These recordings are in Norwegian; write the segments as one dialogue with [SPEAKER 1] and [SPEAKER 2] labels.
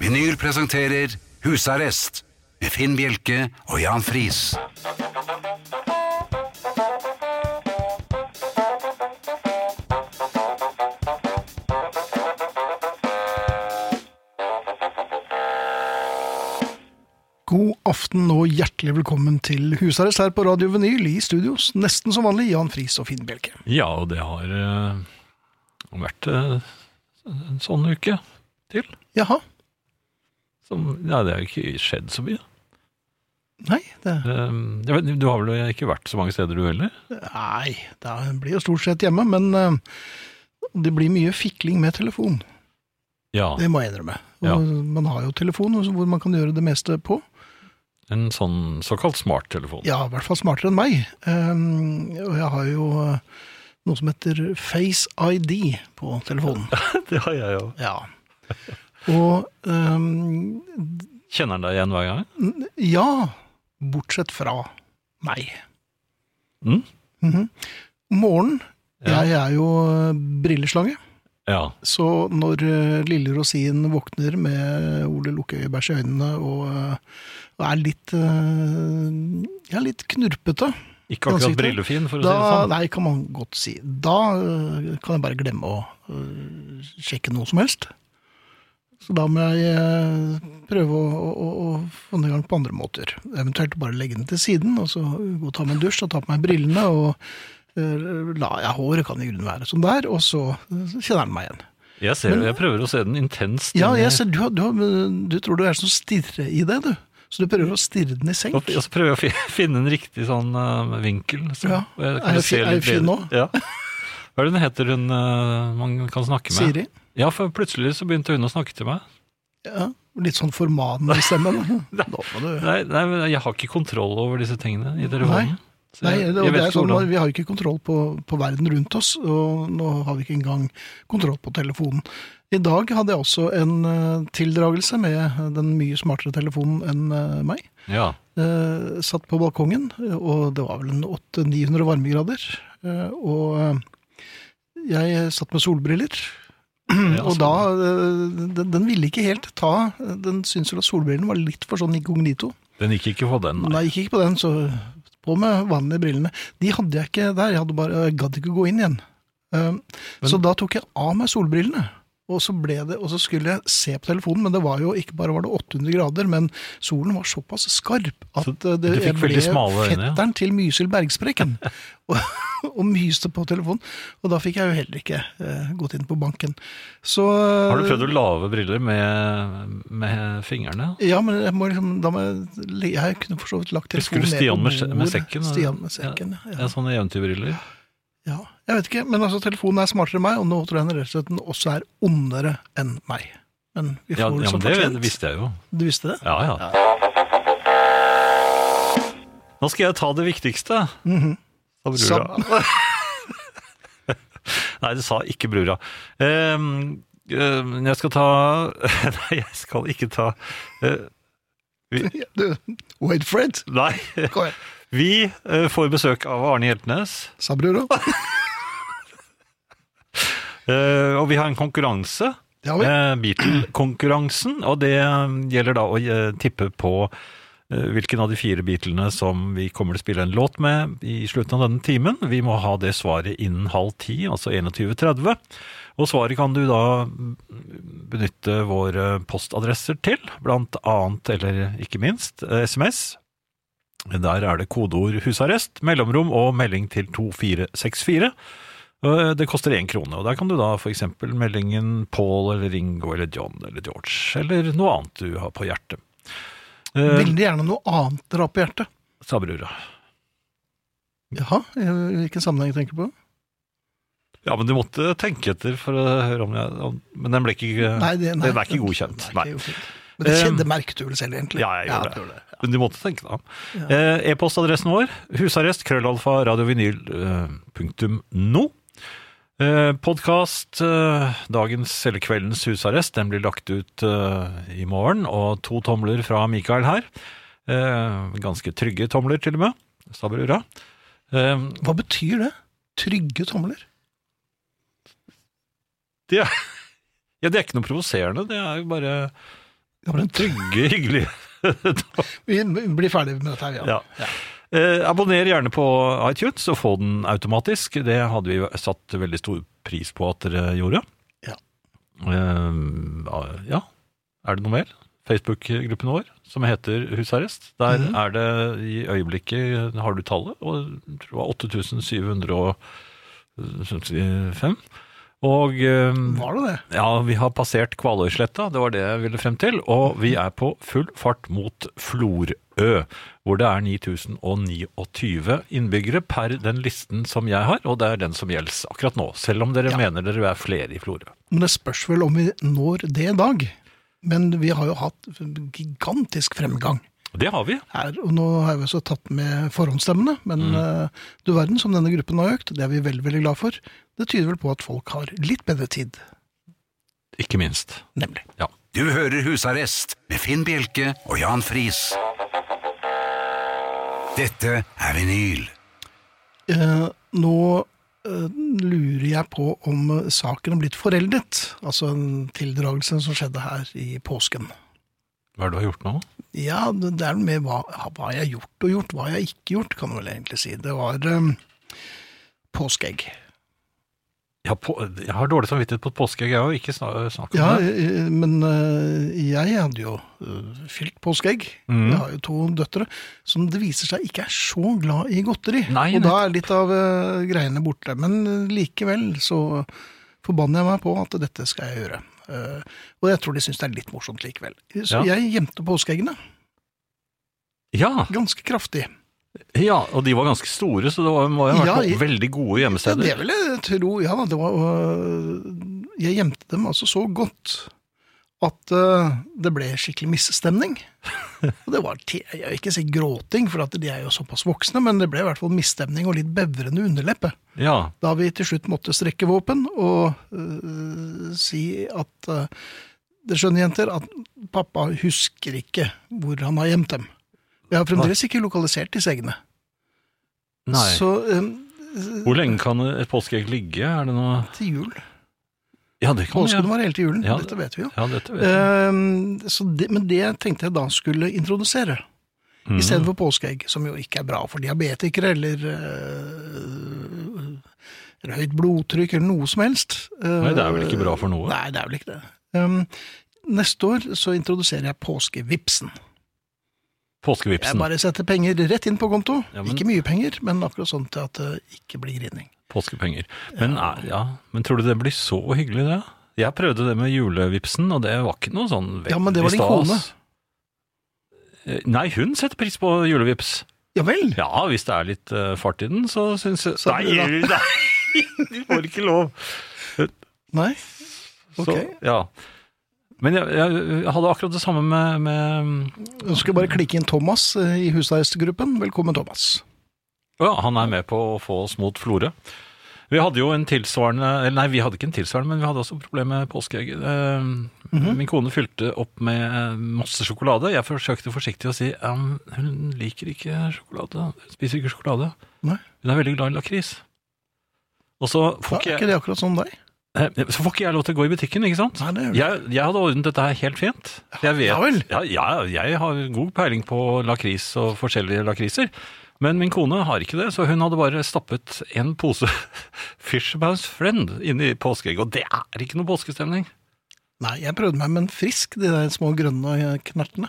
[SPEAKER 1] Vinyl presenterer Husarrest med Finn Bjelke og Jan Friis.
[SPEAKER 2] God aften og hjertelig velkommen til husarrest her på Radio Vinyl i studios. Nesten som vanlig Jan Friis og Finn Bjelke.
[SPEAKER 3] Ja, og det har eh, vært eh, en sånn uke til.
[SPEAKER 2] Jaha.
[SPEAKER 3] Som, ja, det har jo ikke skjedd så mye.
[SPEAKER 2] Nei, det,
[SPEAKER 3] Um, jeg vet, du har vel ikke vært så mange steder du heller?
[SPEAKER 2] nei, det blir jo stort sett hjemme, men eh, det blir mye fikling med telefon.
[SPEAKER 3] Ja,
[SPEAKER 2] Det må jeg innrømme. Og
[SPEAKER 3] Ja.
[SPEAKER 2] Man har jo telefon hvor man kan gjøre det meste på.
[SPEAKER 3] en sånn såkalt smarttelefon.
[SPEAKER 2] Ja, i hvert fall smartere enn meg. Eh, og jeg har jo eh, noe som heter Face ID på telefonen.
[SPEAKER 3] det har jeg jo.
[SPEAKER 2] Ja. Og eh,
[SPEAKER 3] Kjenner den deg igjen hver gang?
[SPEAKER 2] Ja, bortsett fra meg.
[SPEAKER 3] Mm?
[SPEAKER 2] Mhm. Morgen,
[SPEAKER 3] Ja.
[SPEAKER 2] jeg er jo eh, brilleslange,
[SPEAKER 3] Ja.
[SPEAKER 2] så når eh, lille Rosin våkner med Ole Lukkøyebæsj i øynene og, eh, og er litt, eh, ja, litt knurpete,
[SPEAKER 3] Ikke akkurat
[SPEAKER 2] Ansiktet?
[SPEAKER 3] brillefin, for å si
[SPEAKER 2] da,
[SPEAKER 3] det sånn.
[SPEAKER 2] nei, kan man godt si, da eh, kan jeg bare glemme å eh, sjekke noe som helst. Så da må jeg eh, prøve å, å, å få den i gang på andre måter. Eventuelt bare legge den til siden, og så gå og ta meg en dusj og ta på meg brillene. Og eh, la jeg håret, kan i grunnen være sånn der, og så eh, kjenner den meg igjen.
[SPEAKER 3] Jeg ser jo, jeg prøver å se den intenst.
[SPEAKER 2] Ja,
[SPEAKER 3] inn i-
[SPEAKER 2] jeg ser, du, har- du, har- du tror du er sånn stirre i det, du. Så du prøver å stirre den i
[SPEAKER 3] Og
[SPEAKER 2] senk.
[SPEAKER 3] og så prøver jeg å fi- finne en riktig sånn eh, vinkel. Så,
[SPEAKER 2] Ja.
[SPEAKER 3] og jeg
[SPEAKER 2] Er
[SPEAKER 3] kan
[SPEAKER 2] jeg
[SPEAKER 3] se
[SPEAKER 2] fi- er jeg
[SPEAKER 3] litt
[SPEAKER 2] fin
[SPEAKER 3] bedre. Ja. Hva er det hun heter hun eh, man kan snakke med?
[SPEAKER 2] Siri.
[SPEAKER 3] Ja, for plutselig så begynte hun å snakke til meg.
[SPEAKER 2] Ja, litt sånn formanende stemme. da. Nå må du
[SPEAKER 3] Nei, nei, men jeg har ikke kontroll over disse tingene i telefonen. Så
[SPEAKER 2] Nei,
[SPEAKER 3] eh, jeg,
[SPEAKER 2] det, og
[SPEAKER 3] jeg
[SPEAKER 2] det
[SPEAKER 3] vet
[SPEAKER 2] er
[SPEAKER 3] ikke
[SPEAKER 2] sånn,
[SPEAKER 3] hvordan.
[SPEAKER 2] Vi har jo ikke kontroll på, på verden rundt oss, og nå har vi ikke engang kontroll på telefonen. I dag hadde jeg også en eh, tildragelse med den mye smartere telefonen enn eh, meg.
[SPEAKER 3] Ja,
[SPEAKER 2] Eh, satt på balkongen, og det var vel en 800-900 varmegrader. Eh, og eh, jeg satt med solbriller.
[SPEAKER 3] Ja, altså,
[SPEAKER 2] og da eh, den, den ville ikke helt ta Den syntes vel at solbrillene var litt for sånn inkognito.
[SPEAKER 3] den gikk ikke på den.
[SPEAKER 2] Nei,
[SPEAKER 3] Nei.
[SPEAKER 2] jeg gikk ikke på den, så på med vanlige brillene. De hadde jeg ikke der, jeg hadde bare, jeg gadd ikke gå inn igjen. Um,
[SPEAKER 3] Men-
[SPEAKER 2] så da tok jeg av meg solbrillene, og så, ble det, og så skulle jeg se på telefonen, men det var jo ikke bare var det 800 grader, men solen var såpass skarp at
[SPEAKER 3] Så
[SPEAKER 2] uh, det,
[SPEAKER 3] du fikk
[SPEAKER 2] jeg ble
[SPEAKER 3] veldig smale øyne, ja.
[SPEAKER 2] fetteren til Mysil Bergsprekken og, og myste på telefonen. Og da fikk jeg jo heller ikke eh, gått inn på banken. Så,
[SPEAKER 3] Har du prøvd å lage briller med, med fingrene?
[SPEAKER 2] Ja, men jeg må liksom da må jeg, le- jeg kunne for så vidt lagt
[SPEAKER 3] Husker
[SPEAKER 2] telefonen ned
[SPEAKER 3] du Stian
[SPEAKER 2] på
[SPEAKER 3] med se- med
[SPEAKER 2] bordet.
[SPEAKER 3] sekken?
[SPEAKER 2] Stian med sekken, ja.
[SPEAKER 3] Ja,
[SPEAKER 2] ja.
[SPEAKER 3] sånne eventyrbriller.
[SPEAKER 2] ja. Jeg vet ikke, men altså telefonen er smartere enn meg, og nå tror jeg den rett og slett den også er ondere enn meg. Men vi
[SPEAKER 3] Ja,
[SPEAKER 2] får det
[SPEAKER 3] ja, men
[SPEAKER 2] som
[SPEAKER 3] det
[SPEAKER 2] fortjent.
[SPEAKER 3] visste jeg jo.
[SPEAKER 2] Du visste det?
[SPEAKER 3] Ja, ja. Nå skal jeg ta det viktigste. Sa brura.
[SPEAKER 2] Samme.
[SPEAKER 3] Nei, det sa ikke brura. Ehm, ehm, jeg skal ta Nei, jeg skal ikke ta eh,
[SPEAKER 2] Du, wait for it.
[SPEAKER 3] Nei.
[SPEAKER 2] Kom igjen.
[SPEAKER 3] Vi eh, får besøk av Arne Hjeltnes,
[SPEAKER 2] Sa brura.
[SPEAKER 3] eh, og vi har en konkurranse.
[SPEAKER 2] Det har vi.
[SPEAKER 3] eh, Beatle-konkurransen, og det eh, gjelder da å eh, tippe på eh, hvilken av de fire Beatlene som vi kommer til å spille en låt med i slutten av denne timen. Vi må ha det svaret innen halv ti, altså 21.30. Og svaret kan du da benytte våre postadresser til, blant annet, eller ikke minst, eh, SMS. Der er det kodeord husarrest, mellomrom og melding til 2464. Eh, Det koster én krone, og der kan du da f.eks. meldingen Paul eller Ringo eller John eller George, eller noe annet du har på hjertet. Eh,
[SPEAKER 2] Veldig gjerne noe annet dere har på hjertet.
[SPEAKER 3] Sa brura.
[SPEAKER 2] Jaha, i hvilken sammenheng tenker du på?
[SPEAKER 3] Ja, men du måtte tenke etter for å høre om jeg om, Men den ble ikke
[SPEAKER 2] det,
[SPEAKER 3] den er ikke godkjent.
[SPEAKER 2] Nei,
[SPEAKER 3] Nei.
[SPEAKER 2] det er godkjent. Men det
[SPEAKER 3] Eh,
[SPEAKER 2] kjente merket du vel selv, egentlig?
[SPEAKER 3] Ja, jeg gjorde
[SPEAKER 2] det.
[SPEAKER 3] det. Men du måtte tenke deg om.
[SPEAKER 2] Ja.
[SPEAKER 3] Eh, E-postadressen vår husarrest krøllalfa radiovinyl eh, punktum no. Eh, Podkast eh, dagens eller kveldens husarrest den blir lagt ut eh, i morgen. Og to tomler fra Mikael her. Eh, ganske trygge tomler, til og med. Sa brura. Eh,
[SPEAKER 2] Hva betyr det? Trygge tomler?
[SPEAKER 3] det, er- ja, det er ikke noe provoserende. Det er jo bare
[SPEAKER 2] Ja, men
[SPEAKER 3] Trygge, hyggelige
[SPEAKER 2] Vi blir ferdig med dette her, ja.
[SPEAKER 3] Ja. Eh, abonner gjerne på iTunes og få den automatisk. Det hadde vi satt veldig stor pris på at dere gjorde.
[SPEAKER 2] Ja.
[SPEAKER 3] Eh, ja. Er det noe mer? Facebook-gruppen vår, som heter Husarrest. Der
[SPEAKER 2] Mhm.
[SPEAKER 3] er det i øyeblikket, har du tallet, og jeg tror det var eh, 8775. Og eh,
[SPEAKER 2] Var det det?
[SPEAKER 3] ja, vi har passert Kvaløysletta, det var det jeg ville frem til. Og vi er på full fart mot Florø, hvor det er 9029 innbyggere per den listen som jeg har, og det er den som gjelder akkurat nå. Selv om dere
[SPEAKER 2] Ja.
[SPEAKER 3] mener dere er flere i Florø.
[SPEAKER 2] Men det spørs vel om vi når det i dag. Men vi har jo hatt gigantisk fremgang
[SPEAKER 3] Det har vi.
[SPEAKER 2] her. Og nå har vi også tatt med forhåndsstemmene, men eh, du verden som denne gruppen har økt, det er vi veldig, veldig glad for. Det tyder vel på at folk har litt bedre tid,
[SPEAKER 3] Ikke minst.
[SPEAKER 2] nemlig.
[SPEAKER 1] Du hører Husarrest med Finn Bjelke og Jan Friis. Dette er vinyl.
[SPEAKER 2] Eh, nå eh, lurer jeg på om eh, saken er blitt foreldet, altså en tildragelse som skjedde her i påsken.
[SPEAKER 3] Hva er det du har gjort nå?
[SPEAKER 2] Ja, det det er noe med hva, hva jeg har gjort og gjort, hva jeg ikke gjort, kan du vel egentlig si. Det var eh, påskeegg.
[SPEAKER 3] Jeg har, på, jeg har dårlig samvittighet på et påskeegg, jeg har jo ikke sna- snakket
[SPEAKER 2] Ja,
[SPEAKER 3] om det.
[SPEAKER 2] eh, men eh, jeg hadde jo eh, fylt påskeegg.
[SPEAKER 3] Mm.
[SPEAKER 2] Jeg har jo to døtre som det viser seg ikke er så glad i godteri.
[SPEAKER 3] Nei,
[SPEAKER 2] og da er litt av eh, greiene borte. Men eh, likevel så forbanner jeg meg på at dette skal jeg gjøre. Eh, og jeg tror de syns det er litt morsomt likevel. Så
[SPEAKER 3] Ja.
[SPEAKER 2] jeg gjemte påskeeggene
[SPEAKER 3] Ja,
[SPEAKER 2] ganske kraftig.
[SPEAKER 3] ja, og de var ganske store, så det var, må jo ha vært
[SPEAKER 2] Ja,
[SPEAKER 3] noen veldig gode
[SPEAKER 2] Ja,
[SPEAKER 3] gjemmesteder.
[SPEAKER 2] det vil jeg tro. Ja, da, det var, øh, jeg gjemte dem altså så godt at øh, det ble skikkelig misstemning. Og det var, te- jeg vil ikke si gråting, for at de er jo såpass voksne, men det ble i hvert fall misstemning og litt bevrende underleppe.
[SPEAKER 3] ja.
[SPEAKER 2] Da vi til slutt måtte strekke våpen og øh, si at øh, det skjønner jenter, at pappa husker ikke hvor han har gjemt dem. Jeg har fremdeles ikke lokalisert disse eggene.
[SPEAKER 3] Nei.
[SPEAKER 2] Så øh,
[SPEAKER 3] Hvor lenge kan et påskeegg ligge? Er det noe
[SPEAKER 2] til jul
[SPEAKER 3] Ja, det kan
[SPEAKER 2] Påsken
[SPEAKER 3] ja.
[SPEAKER 2] var hele til julen,
[SPEAKER 3] Ja,
[SPEAKER 2] dette vet vi jo.
[SPEAKER 3] ja, dette vet jeg.
[SPEAKER 2] Ehm, så det, men det tenkte jeg da skulle introdusere,
[SPEAKER 3] Mm.
[SPEAKER 2] Eh, i stedet for påskeegg, som jo ikke er bra for diabetikere eller, eh, eller høyt blodtrykk eller noe som helst. Eh,
[SPEAKER 3] Nei, det er vel ikke bra for noe?
[SPEAKER 2] Nei, det er vel ikke det. Ehm, neste år så introduserer jeg påskevipsen. Jeg
[SPEAKER 3] Påskevipsen.
[SPEAKER 2] bare setter penger rett inn på konto.
[SPEAKER 3] Ja, men-
[SPEAKER 2] Ikke mye penger, men akkurat sånn til at det ikke blir grinning.
[SPEAKER 3] Påskepenger. Men, er- ja. Men tror du det blir så hyggelig, det? Jeg prøvde det med julevipsen, og det var ikke noe sånn veldig
[SPEAKER 2] Ja, men det var din kone.
[SPEAKER 3] Eh, Nei, hun setter pris på julevips.
[SPEAKER 2] Ja vel?
[SPEAKER 3] Ja, hvis det er litt eh, fart i den, så syns jeg
[SPEAKER 2] Så-
[SPEAKER 3] Nei, nei! Du får ikke lov!
[SPEAKER 2] Nei?
[SPEAKER 3] Så,
[SPEAKER 2] Ok.
[SPEAKER 3] ja. Men jeg, jeg, hadde akkurat det samme med, med
[SPEAKER 2] Nå skal jeg bare klikke inn Thomas eh, i husarrestgruppen. Velkommen, Thomas.
[SPEAKER 3] Ja, han er med på å få oss mot Florø. Vi hadde jo en tilsvarende eller Nei, vi hadde ikke en tilsvarende, men vi hadde også problemer med påskeegget. Eh,
[SPEAKER 2] Mhm.
[SPEAKER 3] Min kone fylte opp med eh, masse sjokolade. Jeg forsøkte forsiktig å si «Em, hun liker ikke sjokolade. Hun spiser ikke sjokolade.
[SPEAKER 2] Nei.
[SPEAKER 3] Hun er veldig glad i lakris. Og så får,
[SPEAKER 2] Ja,
[SPEAKER 3] ikke
[SPEAKER 2] Er
[SPEAKER 3] jeg,
[SPEAKER 2] ikke det akkurat sånn deg?
[SPEAKER 3] eh, så får ikke jeg lov til å gå i butikken, ikke sant?
[SPEAKER 2] Nei, det er jo
[SPEAKER 3] Jeg, jeg hadde ordnet dette her helt fint. Jeg vet,
[SPEAKER 2] Ja vel.
[SPEAKER 3] ja, ja, jeg har god peiling på lakris og forskjellige lakriser. Men min kone har ikke det, så hun hadde bare stappet en pose Fisherman's Friend inni påskeegget. Og det er ikke noe påskestemning.
[SPEAKER 2] Nei, jeg prøvde meg med en frisk, de der små grønne eh, knertene.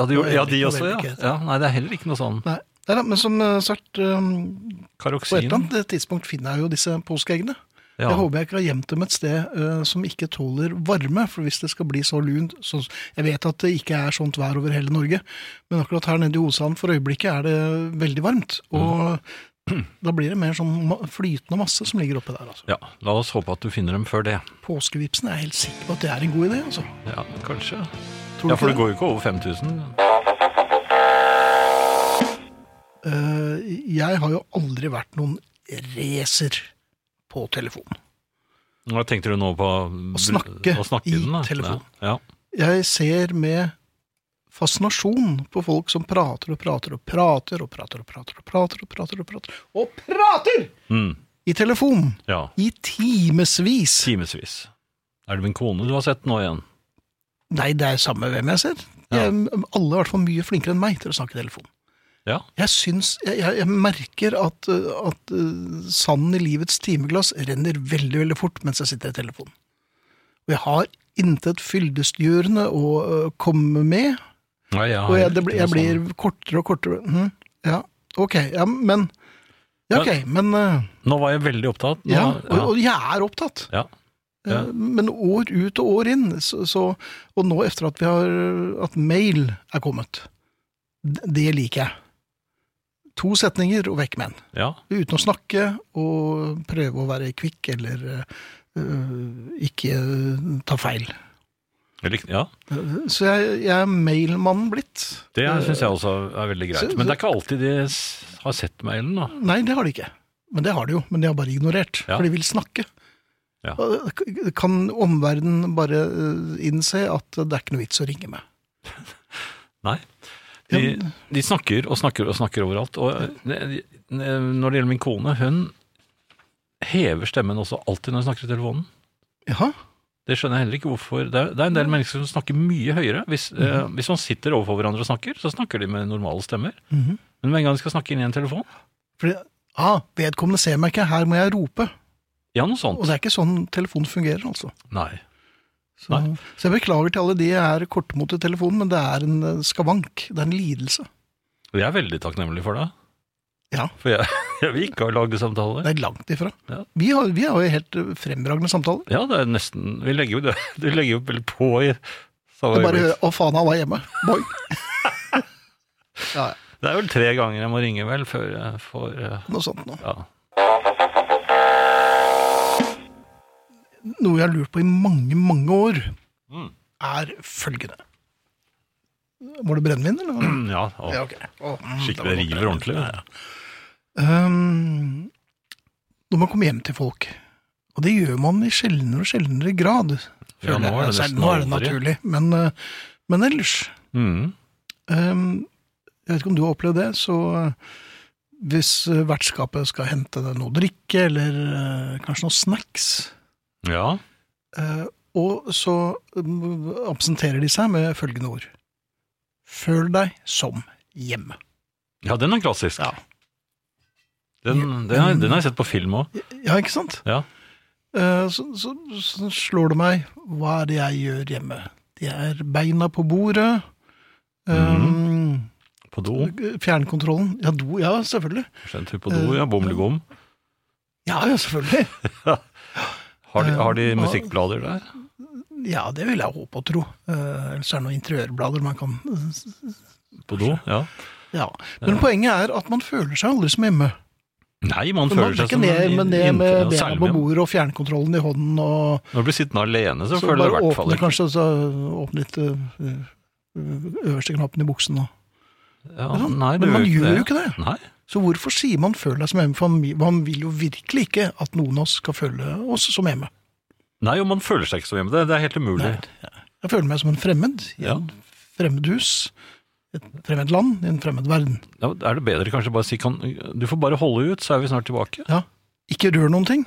[SPEAKER 3] Ja, de, gjorde- ja, de
[SPEAKER 2] Det er
[SPEAKER 3] også, ja.
[SPEAKER 2] heller ikke-
[SPEAKER 3] ja. Nei, det er heller ikke noe sånn
[SPEAKER 2] Nei, Nei da, men som eh, sagt, um, på et
[SPEAKER 3] karoksin.
[SPEAKER 2] eller annet tidspunkt finner jeg jo disse påskeeggene.
[SPEAKER 3] Ja.
[SPEAKER 2] Jeg håper jeg ikke har gjemt dem et sted eh, som ikke tåler varme, for hvis det skal bli så lunt så, Jeg vet at det ikke er sånt vær over hele Norge, men akkurat her nede i Osand for øyeblikket er det veldig varmt. Og
[SPEAKER 3] Mm.
[SPEAKER 2] da blir det mer sånn ma- flytende masse som ligger oppe der, altså.
[SPEAKER 3] ja. La oss håpe at du finner dem før det.
[SPEAKER 2] Påskevipsen er jeg helt sikker på at det er en god idé, altså.
[SPEAKER 3] Ja, kanskje.
[SPEAKER 2] Tror du
[SPEAKER 3] Ja,
[SPEAKER 2] ikke
[SPEAKER 3] for det går jo ikke over 5000.
[SPEAKER 2] Eh, jeg har jo aldri vært noen racer på telefon.
[SPEAKER 3] Hva tenkte du nå på? Å
[SPEAKER 2] snakke i
[SPEAKER 3] den, da?
[SPEAKER 2] telefon.
[SPEAKER 3] Ja. ja.
[SPEAKER 2] Jeg ser med fascinasjon på folk som prater og prater og prater og prater og prater og prater og prater og prater og prater
[SPEAKER 3] Mm.
[SPEAKER 2] i telefon
[SPEAKER 3] ja.
[SPEAKER 2] i timevis.
[SPEAKER 3] Timevis. Er det min kone du har sett nå igjen?
[SPEAKER 2] Nei, det er samme hvem jeg ser. De er alle i hvert fall mye flinkere enn meg til å snakke i telefon.
[SPEAKER 3] Ja.
[SPEAKER 2] Jeg syns Jeg, jeg, jeg merker at, uh, at uh, sanden i livets timeglass renner veldig, veldig fort mens jeg sitter i telefonen. Og jeg har intet fyldestgjørende å uh, komme med.
[SPEAKER 3] Nei, jeg har
[SPEAKER 2] Og jeg, det,
[SPEAKER 3] ikke
[SPEAKER 2] blir- jeg
[SPEAKER 3] noe
[SPEAKER 2] blir
[SPEAKER 3] sånn.
[SPEAKER 2] kortere og kortere Mhm, Ja, ok. Ja, men Ja, ok, men uh,
[SPEAKER 3] Nå var jeg veldig opptatt. Nå,
[SPEAKER 2] ja,
[SPEAKER 3] ja.
[SPEAKER 2] og, og jeg er opptatt.
[SPEAKER 3] Ja. Ja.
[SPEAKER 2] Eh, Men år ut og år inn, så, så, og nå etter at, vi har, at mail er kommet, d- det liker jeg. To setninger og vekk med en.
[SPEAKER 3] ja.
[SPEAKER 2] Uten å snakke og prøve å være kvikk eller eh, ikke eh, ta feil.
[SPEAKER 3] Jeg likte- ja.
[SPEAKER 2] Eh, Så jeg, jeg er mailmannen blitt.
[SPEAKER 3] Det
[SPEAKER 2] Eh,
[SPEAKER 3] syns jeg også er veldig greit.
[SPEAKER 2] så-
[SPEAKER 3] Men det er ikke alltid de s- har sett mailen, da.
[SPEAKER 2] Nei, det har de ikke. Men det har de jo. Men de har bare ignorert.
[SPEAKER 3] Ja.
[SPEAKER 2] For de vil snakke.
[SPEAKER 3] Ja.
[SPEAKER 2] Og, eh, Kan omverdenen bare eh, innse at det er ikke noe vits å ringe med?
[SPEAKER 3] Nei.
[SPEAKER 2] Ja,
[SPEAKER 3] De, de snakker og snakker og snakker overalt. Og eh, ne- ne- når det gjelder min kone, hun hever stemmen også alltid når hun snakker i telefonen.
[SPEAKER 2] Jaha.
[SPEAKER 3] Det skjønner jeg heller ikke hvorfor. Det er, det er en del mennesker som snakker mye høyere. Hvis, eh, hvis man sitter overfor hverandre og snakker, så snakker de med normale stemmer.
[SPEAKER 2] Mhm.
[SPEAKER 3] Men med en gang de skal snakke inn i en telefon,
[SPEAKER 2] Fordi, ah, vedkommende ser meg ikke, her må jeg rope.
[SPEAKER 3] ja, noe sånt.
[SPEAKER 2] Og det er ikke sånn telefonen fungerer, altså.
[SPEAKER 3] Nei.
[SPEAKER 2] Så, så jeg beklager til alle de jeg er kortmotet i telefonen, men det er en eh, skavank. Det er en lidelse.
[SPEAKER 3] Og jeg er veldig takknemlig for det.
[SPEAKER 2] Ja.
[SPEAKER 3] For jeg, jeg vil ikke ha lagdesamtaler.
[SPEAKER 2] Det er langt ifra.
[SPEAKER 3] Ja.
[SPEAKER 2] Vi, har, vi har jo helt eh, fremragende samtaler.
[SPEAKER 3] Ja, det er nesten Vi legger jo det Du legger jo vel på i samme
[SPEAKER 2] Jeg bare
[SPEAKER 3] øyeblikk.
[SPEAKER 2] hører 'Å, faen, han var hjemme'. Boing. ja, ja,
[SPEAKER 3] Det er vel tre ganger jeg må ringe, vel, før jeg får eh,
[SPEAKER 2] noe sånt nå.
[SPEAKER 3] Ja.
[SPEAKER 2] noe jeg har lurt på i mange, mange år,
[SPEAKER 3] Mm.
[SPEAKER 2] er følgende. Var det brennevin, eller?
[SPEAKER 3] ja og
[SPEAKER 2] Ja, ok. Å, mm,
[SPEAKER 3] Mm. skikkelig det river ordentlig.
[SPEAKER 2] Um, når man kommer hjem til folk, og det gjør man i sjeldnere og sjeldnere grad
[SPEAKER 3] Ja, nå er det
[SPEAKER 2] Altså,
[SPEAKER 3] nesten
[SPEAKER 2] nå er det
[SPEAKER 3] aldri.
[SPEAKER 2] naturlig, men, uh, men ellers
[SPEAKER 3] Mm.
[SPEAKER 2] um, Jeg vet ikke om du har opplevd det, så uh, hvis uh, vertskapet skal hente deg noe å drikke, eller uh, kanskje noen snacks
[SPEAKER 3] Ja.
[SPEAKER 2] Eh, og så mm, absenterer de seg med følgende ord. Føl deg som hjemme.
[SPEAKER 3] ja, den er klassisk.
[SPEAKER 2] Ja.
[SPEAKER 3] Den, den, har, den har jeg sett på film òg.
[SPEAKER 2] Ja, ikke sant?
[SPEAKER 3] Ja.
[SPEAKER 2] Eh, så, så, så slår det meg, hva er det jeg gjør hjemme? Det er beina på bordet.
[SPEAKER 3] Mhm.
[SPEAKER 2] eh,
[SPEAKER 3] På do.
[SPEAKER 2] fjernkontrollen. Ja, do. Ja, selvfølgelig.
[SPEAKER 3] Kanskje en tur på do, ja. Bomlegom.
[SPEAKER 2] Ja, ja, selvfølgelig.
[SPEAKER 3] Har, de-
[SPEAKER 2] Eh,
[SPEAKER 3] har de
[SPEAKER 2] hva-
[SPEAKER 3] musikkblader der?
[SPEAKER 2] Ja, det vil jeg håpe og tro. Eh, ellers er det noen interiørblader man kan
[SPEAKER 3] På do? Ja.
[SPEAKER 2] Ja. Men poenget er at man føler seg aldri som hjemme.
[SPEAKER 3] Nei, man
[SPEAKER 2] Man
[SPEAKER 3] føler
[SPEAKER 2] blir
[SPEAKER 3] seg
[SPEAKER 2] ikke
[SPEAKER 3] som
[SPEAKER 2] ned, men ned
[SPEAKER 3] inntil-
[SPEAKER 2] med
[SPEAKER 3] ja,
[SPEAKER 2] bena
[SPEAKER 3] særlig
[SPEAKER 2] på
[SPEAKER 3] med-
[SPEAKER 2] bordet og fjernkontrollen i hånden. og...
[SPEAKER 3] Når du blir sittende alene, så,
[SPEAKER 2] Så
[SPEAKER 3] føler du i
[SPEAKER 2] bare
[SPEAKER 3] hvert fall
[SPEAKER 2] åpne
[SPEAKER 3] ikke
[SPEAKER 2] kanskje, så åpne litt øh, øverste knappen i buksen. Og.
[SPEAKER 3] ja,
[SPEAKER 2] Men man-
[SPEAKER 3] Nei, du
[SPEAKER 2] men man gjør jo
[SPEAKER 3] det.
[SPEAKER 2] ikke det.
[SPEAKER 3] Nei.
[SPEAKER 2] Så hvorfor sier man 'føl deg som hjemme'? For man- man vil jo virkelig ikke at noen av oss skal føle oss som hjemme.
[SPEAKER 3] Nei, og man føler seg ikke som hjemme. Det, det er helt umulig.
[SPEAKER 2] Nei. Jeg føler meg som en fremmed i
[SPEAKER 3] Ja.
[SPEAKER 2] et fremmed hus, et fremmed land, i en fremmed verden.
[SPEAKER 3] Ja, er det bedre kanskje bare å si kan, Du får bare holde ut, så er vi snart tilbake.
[SPEAKER 2] Ja. Ikke rør noen ting,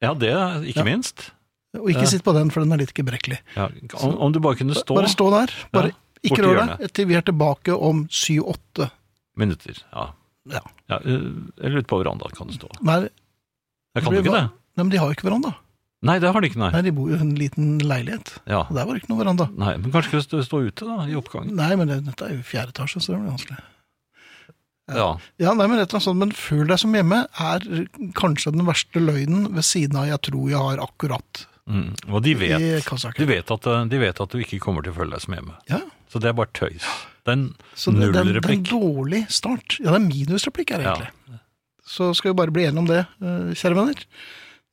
[SPEAKER 3] Ja, det er
[SPEAKER 2] Ja.
[SPEAKER 3] ikke minst.
[SPEAKER 2] og ikke
[SPEAKER 3] Ja.
[SPEAKER 2] sitt på den, for den er litt gebrekkelig.
[SPEAKER 3] Ja, om, om du bare kunne stå
[SPEAKER 2] Bare stå der. Bare
[SPEAKER 3] Ja,
[SPEAKER 2] ikke
[SPEAKER 3] borti
[SPEAKER 2] rør deg til vi er tilbake om syv-åtte.
[SPEAKER 3] minutter. Ja.
[SPEAKER 2] Ja.
[SPEAKER 3] Ja, eh, eller ute på verandaen kan du stå.
[SPEAKER 2] Nei,
[SPEAKER 3] Jeg kan jo ikke det.
[SPEAKER 2] Nei, men de har jo ikke veranda.
[SPEAKER 3] Nei, det har de ikke, nei.
[SPEAKER 2] Nei, de bor jo i en liten leilighet.
[SPEAKER 3] Ja.
[SPEAKER 2] Og der var det ikke noe veranda.
[SPEAKER 3] Nei, men kanskje skal du stå- stå ute, da, i oppgangen.
[SPEAKER 2] Nei, men det, dette er jo fjerde etasje, så det blir vanskelig.
[SPEAKER 3] Ja.
[SPEAKER 2] Ja, nei, men rett og slett sånn, men føl deg som hjemme er kanskje den verste løgnen ved siden av 'jeg tror jeg har akkurat'
[SPEAKER 3] Mm. Og de vet,
[SPEAKER 2] i
[SPEAKER 3] de,
[SPEAKER 2] Kasaker.
[SPEAKER 3] vet at, eh, de vet at du ikke kommer til å følge deg som hjemme.
[SPEAKER 2] Ja,
[SPEAKER 3] Så det er bare tøys. Det er en
[SPEAKER 2] så det, det, er, det er en
[SPEAKER 3] Nullreplikk.
[SPEAKER 2] dårlig start. Ja, det er minusreplikk her,
[SPEAKER 3] ja.
[SPEAKER 2] egentlig. Så skal vi bare bli enige om det, eh, kjære venner.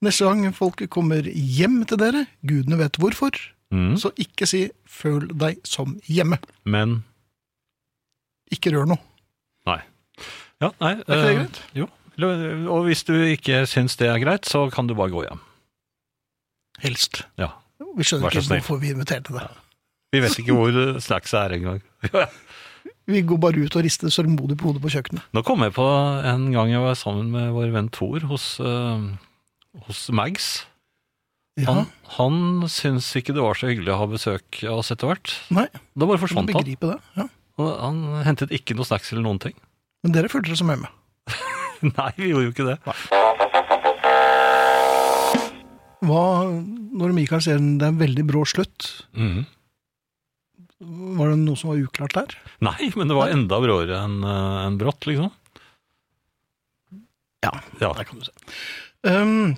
[SPEAKER 2] Neste gang folk kommer hjem til dere, gudene vet hvorfor,
[SPEAKER 3] mm.
[SPEAKER 2] så ikke si 'føl deg som hjemme'.
[SPEAKER 3] Men
[SPEAKER 2] Ikke rør noe.
[SPEAKER 3] Ja, nei.
[SPEAKER 2] Er ikke det
[SPEAKER 3] eh,
[SPEAKER 2] greit?
[SPEAKER 3] Jo. Eller, Og hvis du ikke syns det er greit, så kan du bare gå hjem.
[SPEAKER 2] Helst.
[SPEAKER 3] Ja.
[SPEAKER 2] Vi
[SPEAKER 3] Vær
[SPEAKER 2] skjønner
[SPEAKER 3] så
[SPEAKER 2] ikke
[SPEAKER 3] snill.
[SPEAKER 2] hvorfor vi inviterte deg.
[SPEAKER 3] Vi vet ikke hvor eh, snackset er engang.
[SPEAKER 2] Vi går bare ut og rister sørgmodig på hodet på kjøkkenet.
[SPEAKER 3] Nå kom jeg på en gang jeg var sammen med vår venn Thor hos, eh, hos Mags.
[SPEAKER 2] Ja,
[SPEAKER 3] Han, han syntes ikke det var så hyggelig å ha besøk av oss etter hvert.
[SPEAKER 2] nei,
[SPEAKER 3] Da bare
[SPEAKER 2] jeg kan
[SPEAKER 3] forsvant han.
[SPEAKER 2] begripe det. Ja.
[SPEAKER 3] Og han hentet ikke noe snacks eller noen ting.
[SPEAKER 2] Men dere følte dere som hjemme.
[SPEAKER 3] Nei, vi gjorde jo ikke det.
[SPEAKER 2] Hva, når Mikael sier det er en veldig brå slutt,
[SPEAKER 3] Mhm.
[SPEAKER 2] var det noe som var uklart der?
[SPEAKER 3] Nei, men det var enda bråere enn eh, enn brått, liksom.
[SPEAKER 2] Ja,
[SPEAKER 3] Ja.
[SPEAKER 2] der kan du se. Um,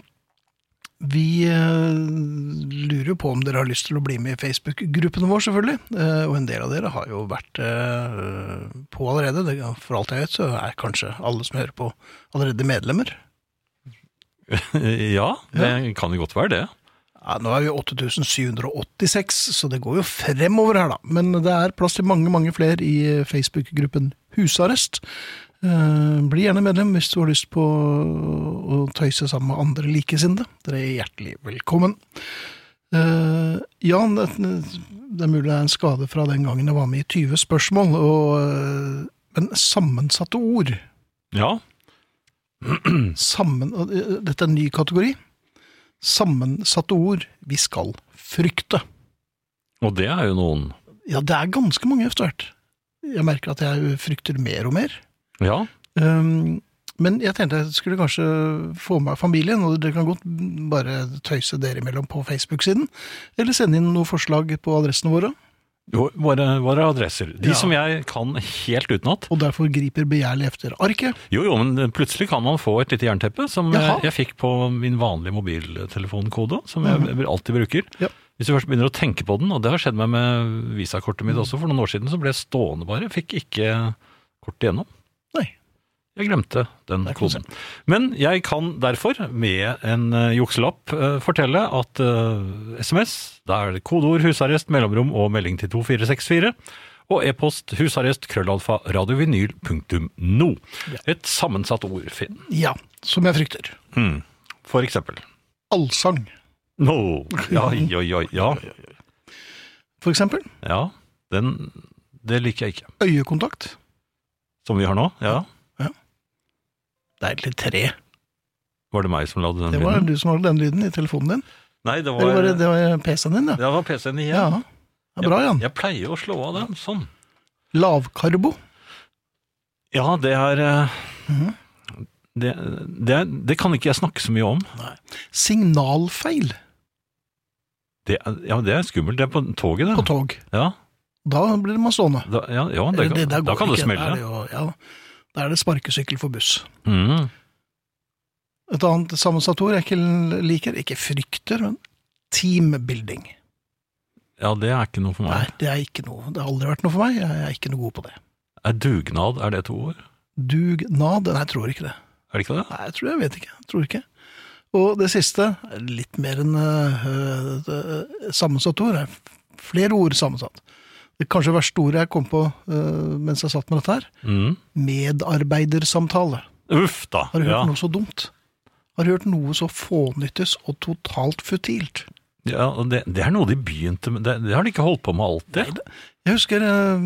[SPEAKER 2] vi eh, lurer jo på om dere har lyst til å bli med i Facebook-gruppen vår, selvfølgelig. Eh, og en del av dere har jo vært eh, på allerede. Det, for alt jeg vet, så er kanskje alle som hører på, allerede medlemmer.
[SPEAKER 3] ja, det kan jo godt være det.
[SPEAKER 2] Ja, nå er vi 8786, så det går jo fremover her, da. Men det er plass til mange, mange flere i eh, Facebook-gruppen Husarrest. Eh, Bli gjerne medlem hvis du har lyst på å tøyse sammen med andre likesinnede. Dere er hjertelig velkommen. Eh, Jan, det det er mulig det er en skade fra den gangen jeg var med i 20 spørsmål, og, eh, men sammensatte ord
[SPEAKER 3] Ja,
[SPEAKER 2] sammen, og, eh, Dette er en ny kategori. Sammensatte ord vi skal frykte.
[SPEAKER 3] og det er jo noen.
[SPEAKER 2] Ja, det er ganske mange etter hvert. Jeg merker at jeg frykter mer og mer.
[SPEAKER 3] Ja,
[SPEAKER 2] Um, men jeg tenkte jeg skulle kanskje få med familien, og dere kan godt bare tøyse dere imellom på Facebook-siden. Eller sende inn noen forslag på adressene våre.
[SPEAKER 3] jo, våre, våre adresser. De
[SPEAKER 2] Ja.
[SPEAKER 3] som jeg kan helt utenat.
[SPEAKER 2] Og derfor griper begjærlig efter arket.
[SPEAKER 3] Jo, jo, men plutselig kan man få et lite jernteppe, som jeg,
[SPEAKER 2] Jaha.
[SPEAKER 3] jeg fikk på min vanlige mobiltelefonkode, som jeg alltid bruker.
[SPEAKER 2] Mhm. Ja.
[SPEAKER 3] Hvis du først begynner å tenke på den, og det har skjedd meg med
[SPEAKER 2] Mhm.
[SPEAKER 3] visakortet mitt også, for noen år siden så ble jeg stående bare, jeg fikk ikke kortet igjennom.
[SPEAKER 2] Nei.
[SPEAKER 3] Jeg glemte den
[SPEAKER 2] Der kan du
[SPEAKER 3] koden. Men jeg kan derfor, med en eh, jukselapp, eh, fortelle at eh, SMS, da er det kodeord husarrest, mellomrom og melding til 2464, og e-post husarrest krøllalfa radiovinyl.no. Et sammensatt ord, Finn.
[SPEAKER 2] Ja, som jeg frykter.
[SPEAKER 3] Hmm. For eksempel.
[SPEAKER 2] Allsang,
[SPEAKER 3] No. Ja, ja, ja, ja.
[SPEAKER 2] for eksempel.
[SPEAKER 3] ja den, det liker jeg ikke.
[SPEAKER 2] Øyekontakt.
[SPEAKER 3] Som vi har nå, ja.
[SPEAKER 2] Det er egentlig tre.
[SPEAKER 3] Var det meg som lagde den
[SPEAKER 2] Det var
[SPEAKER 3] lyden?
[SPEAKER 2] du som hadde den lyden i telefonen din.
[SPEAKER 3] Nei, det
[SPEAKER 2] Eller
[SPEAKER 3] var,
[SPEAKER 2] var det,
[SPEAKER 3] det
[SPEAKER 2] det var PC-en din, ja.
[SPEAKER 3] var PC-en
[SPEAKER 2] Ja,
[SPEAKER 3] igjen.
[SPEAKER 2] det er bra, Jan.
[SPEAKER 3] Jeg pleier å slå av den, sånn.
[SPEAKER 2] Lavkarbo.
[SPEAKER 3] Ja, det er eh,
[SPEAKER 2] Mhm.
[SPEAKER 3] det, det, er- det kan ikke jeg snakke så mye om.
[SPEAKER 2] Signalfeil
[SPEAKER 3] Det, er- ja, men det er skummelt. Det er på toget, det.
[SPEAKER 2] på tog.
[SPEAKER 3] ja,
[SPEAKER 2] Da blir man stående.
[SPEAKER 3] da, ja, ja det,
[SPEAKER 2] Eller
[SPEAKER 3] kan,
[SPEAKER 2] Eh, der
[SPEAKER 3] da
[SPEAKER 2] går
[SPEAKER 3] kan
[SPEAKER 2] ikke.
[SPEAKER 3] det
[SPEAKER 2] Da er
[SPEAKER 3] smelle.
[SPEAKER 2] det jo- ja, da er det sparkesykkel for buss.
[SPEAKER 3] Mm.
[SPEAKER 2] Et annet sammensatt ord jeg ikke liker, ikke frykter, men teambuilding.
[SPEAKER 3] Ja, det er ikke noe for
[SPEAKER 2] Nei,
[SPEAKER 3] meg.
[SPEAKER 2] det er ikke noe. Det har aldri vært noe for meg. Jeg er ikke noe god på det.
[SPEAKER 3] Er dugnad er det et ord?
[SPEAKER 2] Dugnad? Nei, jeg tror ikke det.
[SPEAKER 3] Er det ikke det?
[SPEAKER 2] Nei, jeg tror jeg vet ikke. Jeg tror ikke. Og det siste, er litt mer enn øh, øh, sammensatt ord, er flere ord sammensatt. Det kanskje verste ordet jeg kom på øh, mens jeg satt med dette her,
[SPEAKER 3] Mm.
[SPEAKER 2] medarbeidersamtale.
[SPEAKER 3] Uff da.
[SPEAKER 2] Har du hørt
[SPEAKER 3] Ja.
[SPEAKER 2] noe så dumt? Har du hørt noe så fånyttes og totalt futilt?
[SPEAKER 3] Ja, og det, det er noe de begynte med. Det, det har de ikke holdt på med alltid.
[SPEAKER 2] Jeg husker eh,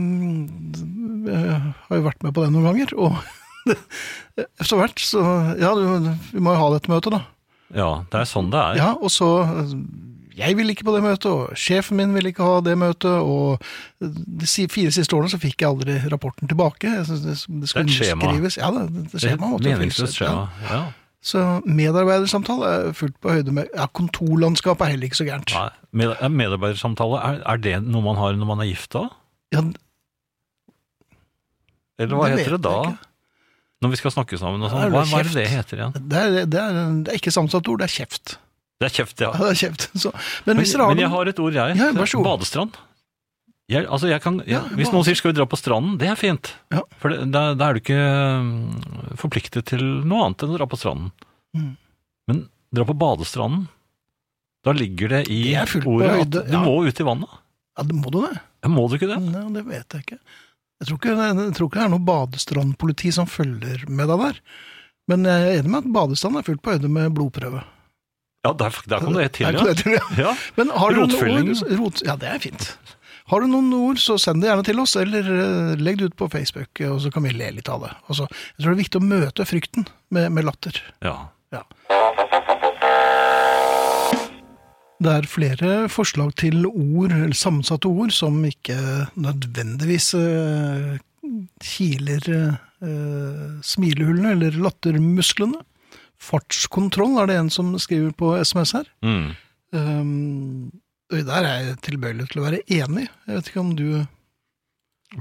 [SPEAKER 2] Jeg har jo vært med på det noen ganger, og etter hvert så Ja, du, vi må jo ha dette møtet, da.
[SPEAKER 3] Ja, det er sånn det er.
[SPEAKER 2] Ja, og så Jeg ville ikke på det møtet, og sjefen min ville ikke ha det møtet, og de si- fire siste årene så fikk jeg aldri rapporten tilbake. Jeg synes Det, det skulle
[SPEAKER 3] Det er et skjema.
[SPEAKER 2] skrives- Ja, det, det, det
[SPEAKER 3] det er
[SPEAKER 2] skjema,
[SPEAKER 3] et
[SPEAKER 2] måtte
[SPEAKER 3] meningsløst
[SPEAKER 2] fylles ut, ja.
[SPEAKER 3] skjema. Ja.
[SPEAKER 2] Så medarbeidersamtale er fullt på høyde med Ja, kontorlandskap er heller ikke så gærent.
[SPEAKER 3] Nei, Med, er medarbeidersamtale, er, er det noe man har når man er gift da?
[SPEAKER 2] Ja,
[SPEAKER 3] Eller hva
[SPEAKER 2] Det vet
[SPEAKER 3] heter det da?
[SPEAKER 2] jeg ikke.
[SPEAKER 3] Når vi skal snakke sammen og
[SPEAKER 2] Da er
[SPEAKER 3] sånn.
[SPEAKER 2] det
[SPEAKER 3] Hva, hva er
[SPEAKER 2] kjeft.
[SPEAKER 3] det det heter igjen?
[SPEAKER 2] det, er, det, er, det er ikke sammensatt ord, det er kjeft.
[SPEAKER 3] Det er kjeft, ja.
[SPEAKER 2] Ja, det er kjeft. Så, men,
[SPEAKER 3] Men,
[SPEAKER 2] hvis dere har
[SPEAKER 3] men jeg
[SPEAKER 2] noen-
[SPEAKER 3] har et ord, jeg.
[SPEAKER 2] Ja, vær så god.
[SPEAKER 3] Badestrand. Jeg, altså jeg kan, ja,
[SPEAKER 2] Ja,
[SPEAKER 3] hvis noen sier 'skal vi dra på stranden', det er fint.
[SPEAKER 2] Ja.
[SPEAKER 3] For det- da, da er du ikke mm, forpliktet til noe annet enn å dra på stranden.
[SPEAKER 2] Mm.
[SPEAKER 3] Men dra på badestranden, da ligger det i
[SPEAKER 2] Det er fullt på
[SPEAKER 3] ordet at
[SPEAKER 2] høyde,
[SPEAKER 3] du
[SPEAKER 2] ja.
[SPEAKER 3] må ut i vannet.
[SPEAKER 2] Ja, det må du det?
[SPEAKER 3] Ja, Må du ikke det?
[SPEAKER 2] Nei, det vet jeg ikke. Jeg tror ikke, jeg tror ikke det er noe badestrandpoliti som følger med deg der. Men jeg er enig med at badestrand er fullt på høyde med blodprøve.
[SPEAKER 3] Ja, der, der kom det til,
[SPEAKER 2] Er ikke
[SPEAKER 3] ja.
[SPEAKER 2] det til, ja.
[SPEAKER 3] ja.
[SPEAKER 2] Men har du noen
[SPEAKER 3] Rotfyllingen.
[SPEAKER 2] ord rot, Ja, det er fint. Har du noen ord, så send det gjerne til oss, eller eh, legg det ut på Facebook, eh, og så kan vi le litt av det. Og så- jeg tror det er viktig å møte frykten med, med latter.
[SPEAKER 3] ja.
[SPEAKER 2] Ja. Det er flere forslag til ord, eller sammensatte ord, som ikke nødvendigvis eh, kiler eh, smilehullene eller lattermusklene. Fartskontroll er det en som skriver på SMS her.
[SPEAKER 3] Mm.
[SPEAKER 2] Um, og der er jeg tilbøyelig til å være enig. Jeg vet ikke om du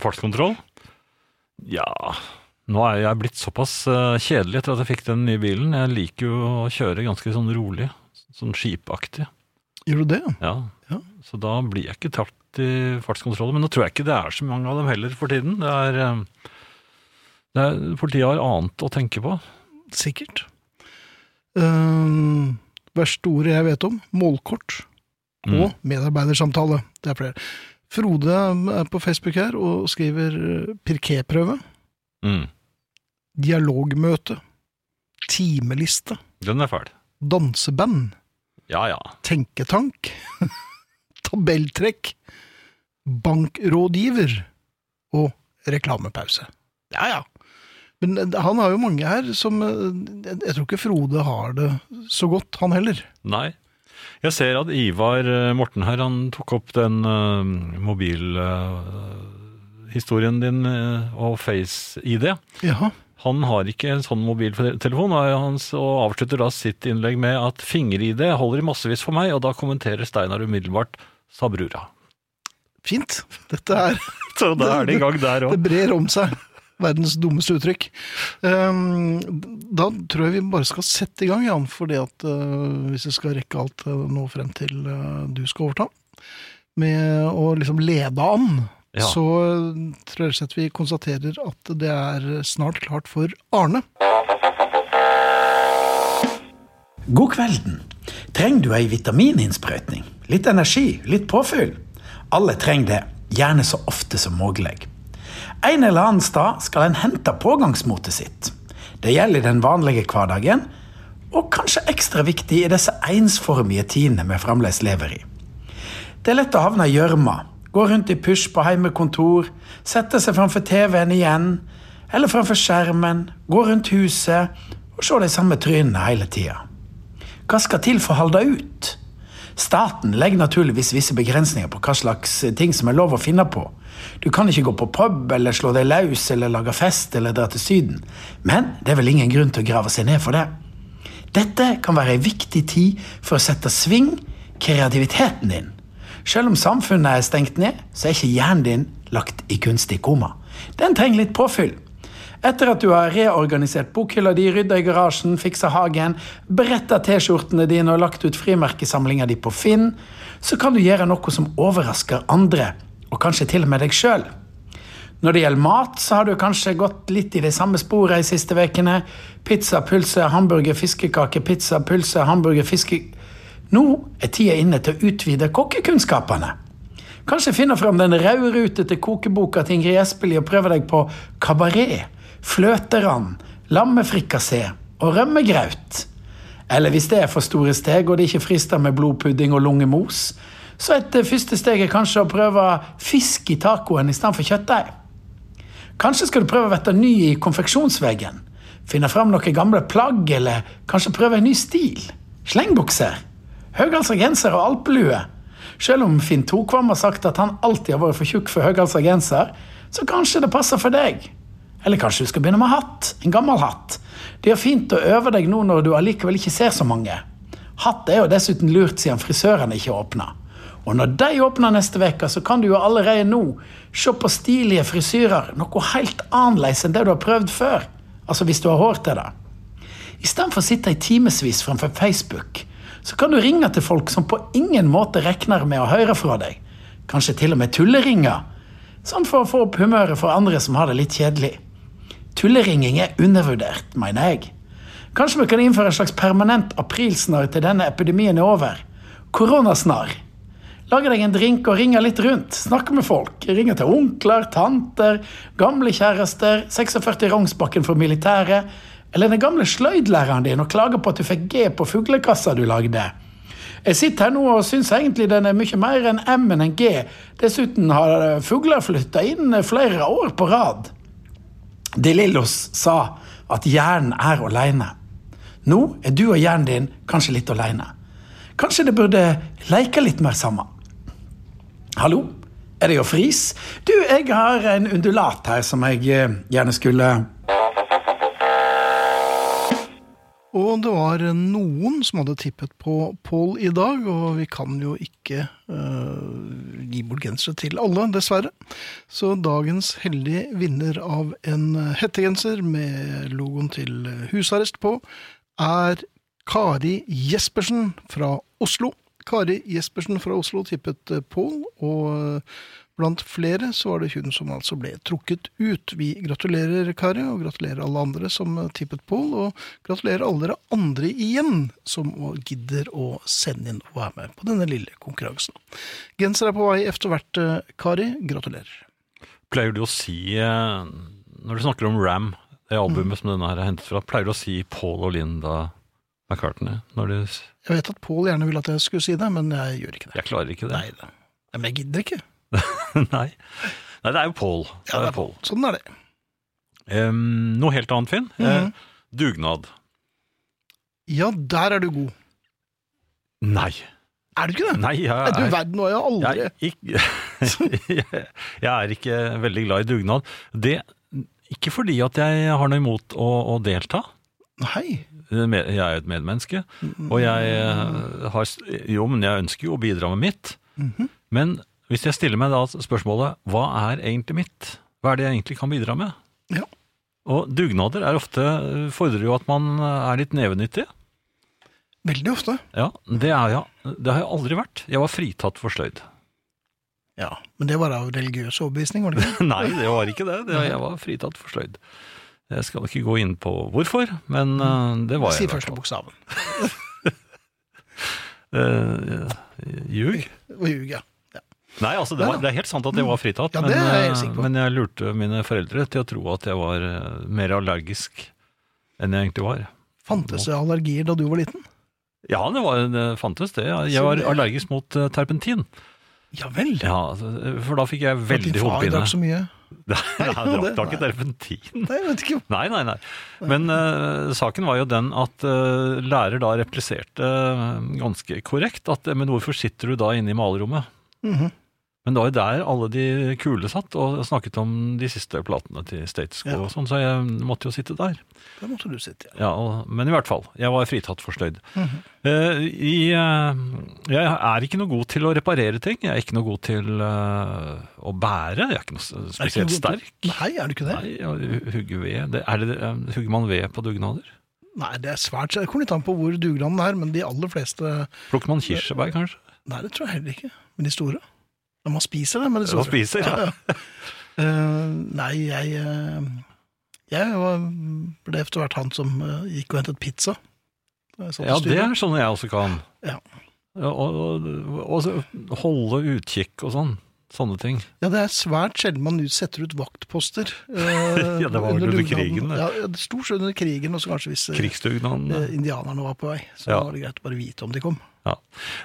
[SPEAKER 3] Fartskontroll? Ja Nå er jeg blitt såpass eh, kjedelig etter at jeg fikk den nye bilen. Jeg liker jo å kjøre ganske sånn rolig. Sånn skipaktig.
[SPEAKER 2] Gjør du det?
[SPEAKER 3] Ja.
[SPEAKER 2] Ja.
[SPEAKER 3] Så da blir jeg ikke tatt i fartskontroller. Men nå tror jeg ikke det er så mange av dem heller for tiden. Det er, eh, det er, politiet har annet å tenke på.
[SPEAKER 2] Sikkert. Um, verste ordet jeg vet om, målkort.
[SPEAKER 3] Mm.
[SPEAKER 2] og medarbeidersamtale. Det er flere. Frode er på Facebook her og skriver eh, pirketprøve,
[SPEAKER 3] Mm.
[SPEAKER 2] dialogmøte, timeliste,
[SPEAKER 3] Den er fæl.
[SPEAKER 2] danseband,
[SPEAKER 3] Ja ja.
[SPEAKER 2] tenketank, tabelltrekk, bankrådgiver og reklamepause. Ja, ja. Men eh, han har jo mange her som eh, Jeg jeg tror ikke Frode har det så godt, han heller.
[SPEAKER 3] Nei. Jeg ser at Ivar eh, Morten her, han tok opp den eh, mobilhistorien din eh, og Face-ID.
[SPEAKER 2] Jaha.
[SPEAKER 3] Han har ikke en sånn mobiltelefon, og han s- og avslutter da sitt innlegg med at finger-ID holder i massevis for meg, og da kommenterer Steinar umiddelbart sa brura.
[SPEAKER 2] Fint. Dette er
[SPEAKER 3] Så da er de i gang der
[SPEAKER 2] Det
[SPEAKER 3] òg.
[SPEAKER 2] brer om seg. Verdens dummeste uttrykk. Ehm, Da tror jeg vi bare skal sette i gang, Jan, for hvis vi skal rekke alt eh, nå frem til eh, du skal overta, med å liksom lede an,
[SPEAKER 3] Ja.
[SPEAKER 2] så eh, tror jeg rett og slett vi konstaterer at det er snart klart for Arne.
[SPEAKER 4] God kvelden. Trenger du ei vitamininnsprøytning? Litt energi? Litt påfyll? Alle trenger det, gjerne så ofte som mulig. En eller annen stad skal en hente pågangsmotet sitt. Det gjelder i den vanlige hverdagen, og kanskje ekstra viktig i disse ensformige tidene vi fremdeles lever i. Det er lett å havne i gjørma, gå rundt i pysj på heimekontor, sette seg framfor TV-en igjen, eller framfor skjermen, gå rundt huset og se de samme trynene hele tida. Hva skal til for å holde det ut? Staten legger naturligvis visse begrensninger på hva slags ting som er lov å finne på. Du kan ikke gå på pub eller slå deg løs eller lage fest eller dra til Syden. Men det er vel ingen grunn til å grave seg ned for det. Dette kan være en viktig tid for å sette sving kreativiteten din. Selv om samfunnet er stengt ned, så er ikke hjernen din lagt i kunstig koma. Den trenger litt påfyll. Etter at du har reorganisert bokhylla di, rydda i garasjen, fiksa hagen, bretta T-skjortene dine og lagt ut frimerkesamlinga di på Finn, så kan du gjøre noe som overrasker andre, og kanskje til og med deg sjøl. Når det gjelder mat, så har du kanskje gått litt i de samme sporene de siste ukene. Pizza, pølse, hamburger, fiskekake, pizza, pølse, hamburger, fiske... Nå er tida inne til å utvide kokkekunnskapene. Kanskje finne fram den røde rute til kokeboka til Ingrid Espelid og prøve deg på kabaret, fløterand, lammefrikassé og rømmegraut. Eller hvis det er for store steg og det ikke frister med blodpudding og lungemos, så et eh, første steg er kanskje å prøve fisk i tacoen istedenfor kjøttdeig. Kanskje skal du prøve å vette ny i konfeksjonsveggen. Finne fram noen gamle plagg, eller kanskje prøve en ny stil. Slengbukser. Høyhalsa genser og alpelue. Selv om Finn Tokvam har sagt at han alltid har vært for tjukk for høyhalsa genser, så kanskje det passer for deg. Eller kanskje du skal begynne med hatt. En gammel hatt. Det gjør fint å øve deg nå når du allikevel ikke ser så mange. Hatt er jo dessuten lurt siden frisørene ikke åpner. Og når de åpner neste uke, så kan du jo allerede nå se på stilige frisyrer, noe helt annerledes enn det du har prøvd før. Altså hvis du har hår til det. Istedenfor å sitte i timevis framfor Facebook, så kan du ringe til folk som på ingen måte regner med å høre fra deg. Kanskje til og med tulleringer. Sånn for å få opp humøret for andre som har det litt kjedelig. Tulleringing er undervurdert, mener jeg. Kanskje vi kan innføre en slags permanent aprilsnarr til denne epidemien er over. Koronasnarr. Lage deg en drink og ringe litt rundt. Snakke med folk. Ringe til onkler, tanter, gamle kjærester, 46 Rognsbakken for militæret, eller den gamle sløydlæreren din og klage på at du fikk G på fuglekassa du lagde. Jeg sitter her nå og syns egentlig den er mye mer enn M enn en G. Dessuten har eh, fugler flytta inn eh, flere år på rad. De Lillos sa at hjernen er alene. Nå er du og hjernen din kanskje litt alene. Kanskje det burde leike litt mer sammen. Hallo, er det jo Fris? Du, jeg har en undulat her som jeg eh, gjerne skulle
[SPEAKER 2] Og det var noen som hadde tippet på Pål i dag, og vi kan jo ikke eh, gi bort gensere til alle, dessverre. Så dagens heldige vinner av en hettegenser med logoen til husarrest på, er Kari Jespersen fra Oslo. Kari Jespersen fra Oslo tippet eh, Pål, og eh, blant flere så var det hun som altså ble trukket ut. Vi gratulerer Kari, og gratulerer alle andre som eh, tippet Pål, og gratulerer alle dere andre igjen som også gidder å sende inn og være med på denne lille konkurransen. Genser er på vei efter hvert, eh, Kari. Gratulerer.
[SPEAKER 3] Pleier du å si, eh, når du snakker om Ram, det albumet som denne her er hentet fra, pleier du å si Paul og Linda McCartney? Når du, s-
[SPEAKER 2] Jeg vet at Pål gjerne ville at jeg skulle si det, men jeg gjør ikke det.
[SPEAKER 3] jeg klarer ikke det.
[SPEAKER 2] Nei da. Nei, Men jeg gidder ikke.
[SPEAKER 3] Nei. Nei, det er jo Paul. Det er jo Paul.
[SPEAKER 2] Sånn er det.
[SPEAKER 3] Em, noe helt annet, Finn. Eh, dugnad.
[SPEAKER 2] Ja, der er du god.
[SPEAKER 3] Nei.
[SPEAKER 2] Er du ikke det?
[SPEAKER 3] Nei, jeg
[SPEAKER 2] Nei, du
[SPEAKER 3] er,
[SPEAKER 2] verden, og jeg har aldri
[SPEAKER 3] jeg, er ikke, jeg er ikke veldig glad i dugnad. Det, ikke fordi at jeg har noe imot å, å delta.
[SPEAKER 2] Nei.
[SPEAKER 3] Med- Jeg er jo et medmenneske, og jeg eh, har s- Jo, men jeg ønsker jo å bidra med mitt. Men hvis jeg stiller meg da spørsmålet hva er egentlig mitt? Hva er det jeg egentlig kan bidra med?
[SPEAKER 2] Ja.
[SPEAKER 3] Og dugnader er ofte, eh, fordrer jo at man eh, er litt nevenyttig.
[SPEAKER 2] Veldig ofte.
[SPEAKER 3] Ja, det, er jeg, det har jeg aldri vært. Jeg var fritatt for sløyd.
[SPEAKER 2] Ja, Men det var av religiøs overbevisning, var det ikke?
[SPEAKER 3] Nei, det var ikke det. det jeg var fritatt for sløyd. Jeg skal ikke gå inn på hvorfor, men eh, det var jeg.
[SPEAKER 2] Si
[SPEAKER 3] i hvert
[SPEAKER 2] første bokstaven.
[SPEAKER 3] fall. Eh, Ljug?
[SPEAKER 2] Og ljuge. Ja.
[SPEAKER 3] Nei, altså det, var, det er helt sant at jeg var fritatt,
[SPEAKER 2] Ja, det
[SPEAKER 3] men,
[SPEAKER 2] er jeg helt
[SPEAKER 3] eh,
[SPEAKER 2] sikker på.
[SPEAKER 3] men jeg lurte mine foreldre til å tro at jeg var eh, mer allergisk enn jeg egentlig var.
[SPEAKER 2] Fantes det allergier da du var liten?
[SPEAKER 3] Ja, det, var, det fantes det. Jeg
[SPEAKER 2] Så
[SPEAKER 3] var
[SPEAKER 2] det-
[SPEAKER 3] allergisk mot eh, terpentin.
[SPEAKER 2] Ja vel.
[SPEAKER 3] Ja, altså, For da fikk jeg
[SPEAKER 2] At din
[SPEAKER 3] veldig
[SPEAKER 2] far
[SPEAKER 3] hodepine.
[SPEAKER 2] drakk så mye.
[SPEAKER 3] Nei, jeg
[SPEAKER 2] det-
[SPEAKER 3] drakk da ikke
[SPEAKER 2] nei.
[SPEAKER 3] terpentin.
[SPEAKER 2] Nei, jeg vet ikke.
[SPEAKER 3] Nei, nei, nei. Men eh, saken var jo den at eh, lærer da repliserte eh, ganske korrekt at eh, men hvorfor sitter du da inne i malerommet?
[SPEAKER 2] Mhm.
[SPEAKER 3] Men det var jo der alle de kule satt og snakket om de siste platene til Status Quo
[SPEAKER 2] Ja.
[SPEAKER 3] og sånn, så jeg måtte jo sitte der.
[SPEAKER 2] Der måtte du sitte, ja.
[SPEAKER 3] Ja, og, men i hvert fall, jeg var fritatt for støyd. Eh, i, eh, jeg er ikke noe god til å reparere ting, jeg er ikke noe god til eh, å bære, jeg er ikke noe s-
[SPEAKER 2] Er det ikke
[SPEAKER 3] spesielt
[SPEAKER 2] noe-
[SPEAKER 3] sterk.
[SPEAKER 2] Nei, er du ikke det? Nei,
[SPEAKER 3] Nei, å hugge ved det, er det, eh, Hugger man ved på dugnader?
[SPEAKER 2] det er svært Det kommer litt an på hvor dugnaden er, men de aller fleste
[SPEAKER 3] Plukker man kirsebær, kanskje?
[SPEAKER 2] Nei, det tror jeg heller ikke. Men de store? Ja, man spiser det, men de store.
[SPEAKER 3] Man spiser, ja.
[SPEAKER 2] Eh, nei, jeg eh, Jeg var, ble etter hvert han som eh, gikk og hentet pizza. Da jeg satt i
[SPEAKER 3] Ja, det
[SPEAKER 2] styret.
[SPEAKER 3] er sånn jeg også kan.
[SPEAKER 2] Ja.
[SPEAKER 3] Ja, Og, og, og så holde utkikk og sånn. Sånne ting.
[SPEAKER 2] ja, det er svært sjelden man setter ut vaktposter. eh,
[SPEAKER 3] Ja, det var vel under
[SPEAKER 2] dugnaden.
[SPEAKER 3] krigen, det.
[SPEAKER 2] Ja, ja, det Stort sett under krigen, og så kanskje hvis eh, eh,
[SPEAKER 3] Krigsdugnaden.
[SPEAKER 2] indianerne var på vei. Så
[SPEAKER 3] Ja.
[SPEAKER 2] var det greit å bare vite om de kom.
[SPEAKER 3] Ja.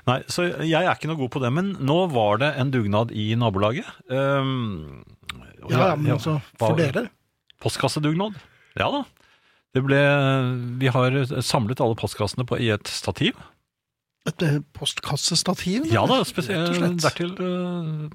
[SPEAKER 3] Nei, så jeg er ikke noe god på det, men nå var det en dugnad i nabolaget. Ehm, og
[SPEAKER 2] Ja, ja,
[SPEAKER 3] jeg-
[SPEAKER 2] men altså,
[SPEAKER 3] hva-
[SPEAKER 2] for dere
[SPEAKER 3] Postkassedugnad. Ja da. Det ble, vi har eh, samlet alle postkassene på, i et stativ.
[SPEAKER 2] Et eh, postkassestativ?
[SPEAKER 3] Ja da,
[SPEAKER 2] rett og
[SPEAKER 3] spesielt eh,
[SPEAKER 2] slett. Mhm.
[SPEAKER 3] dertil eh,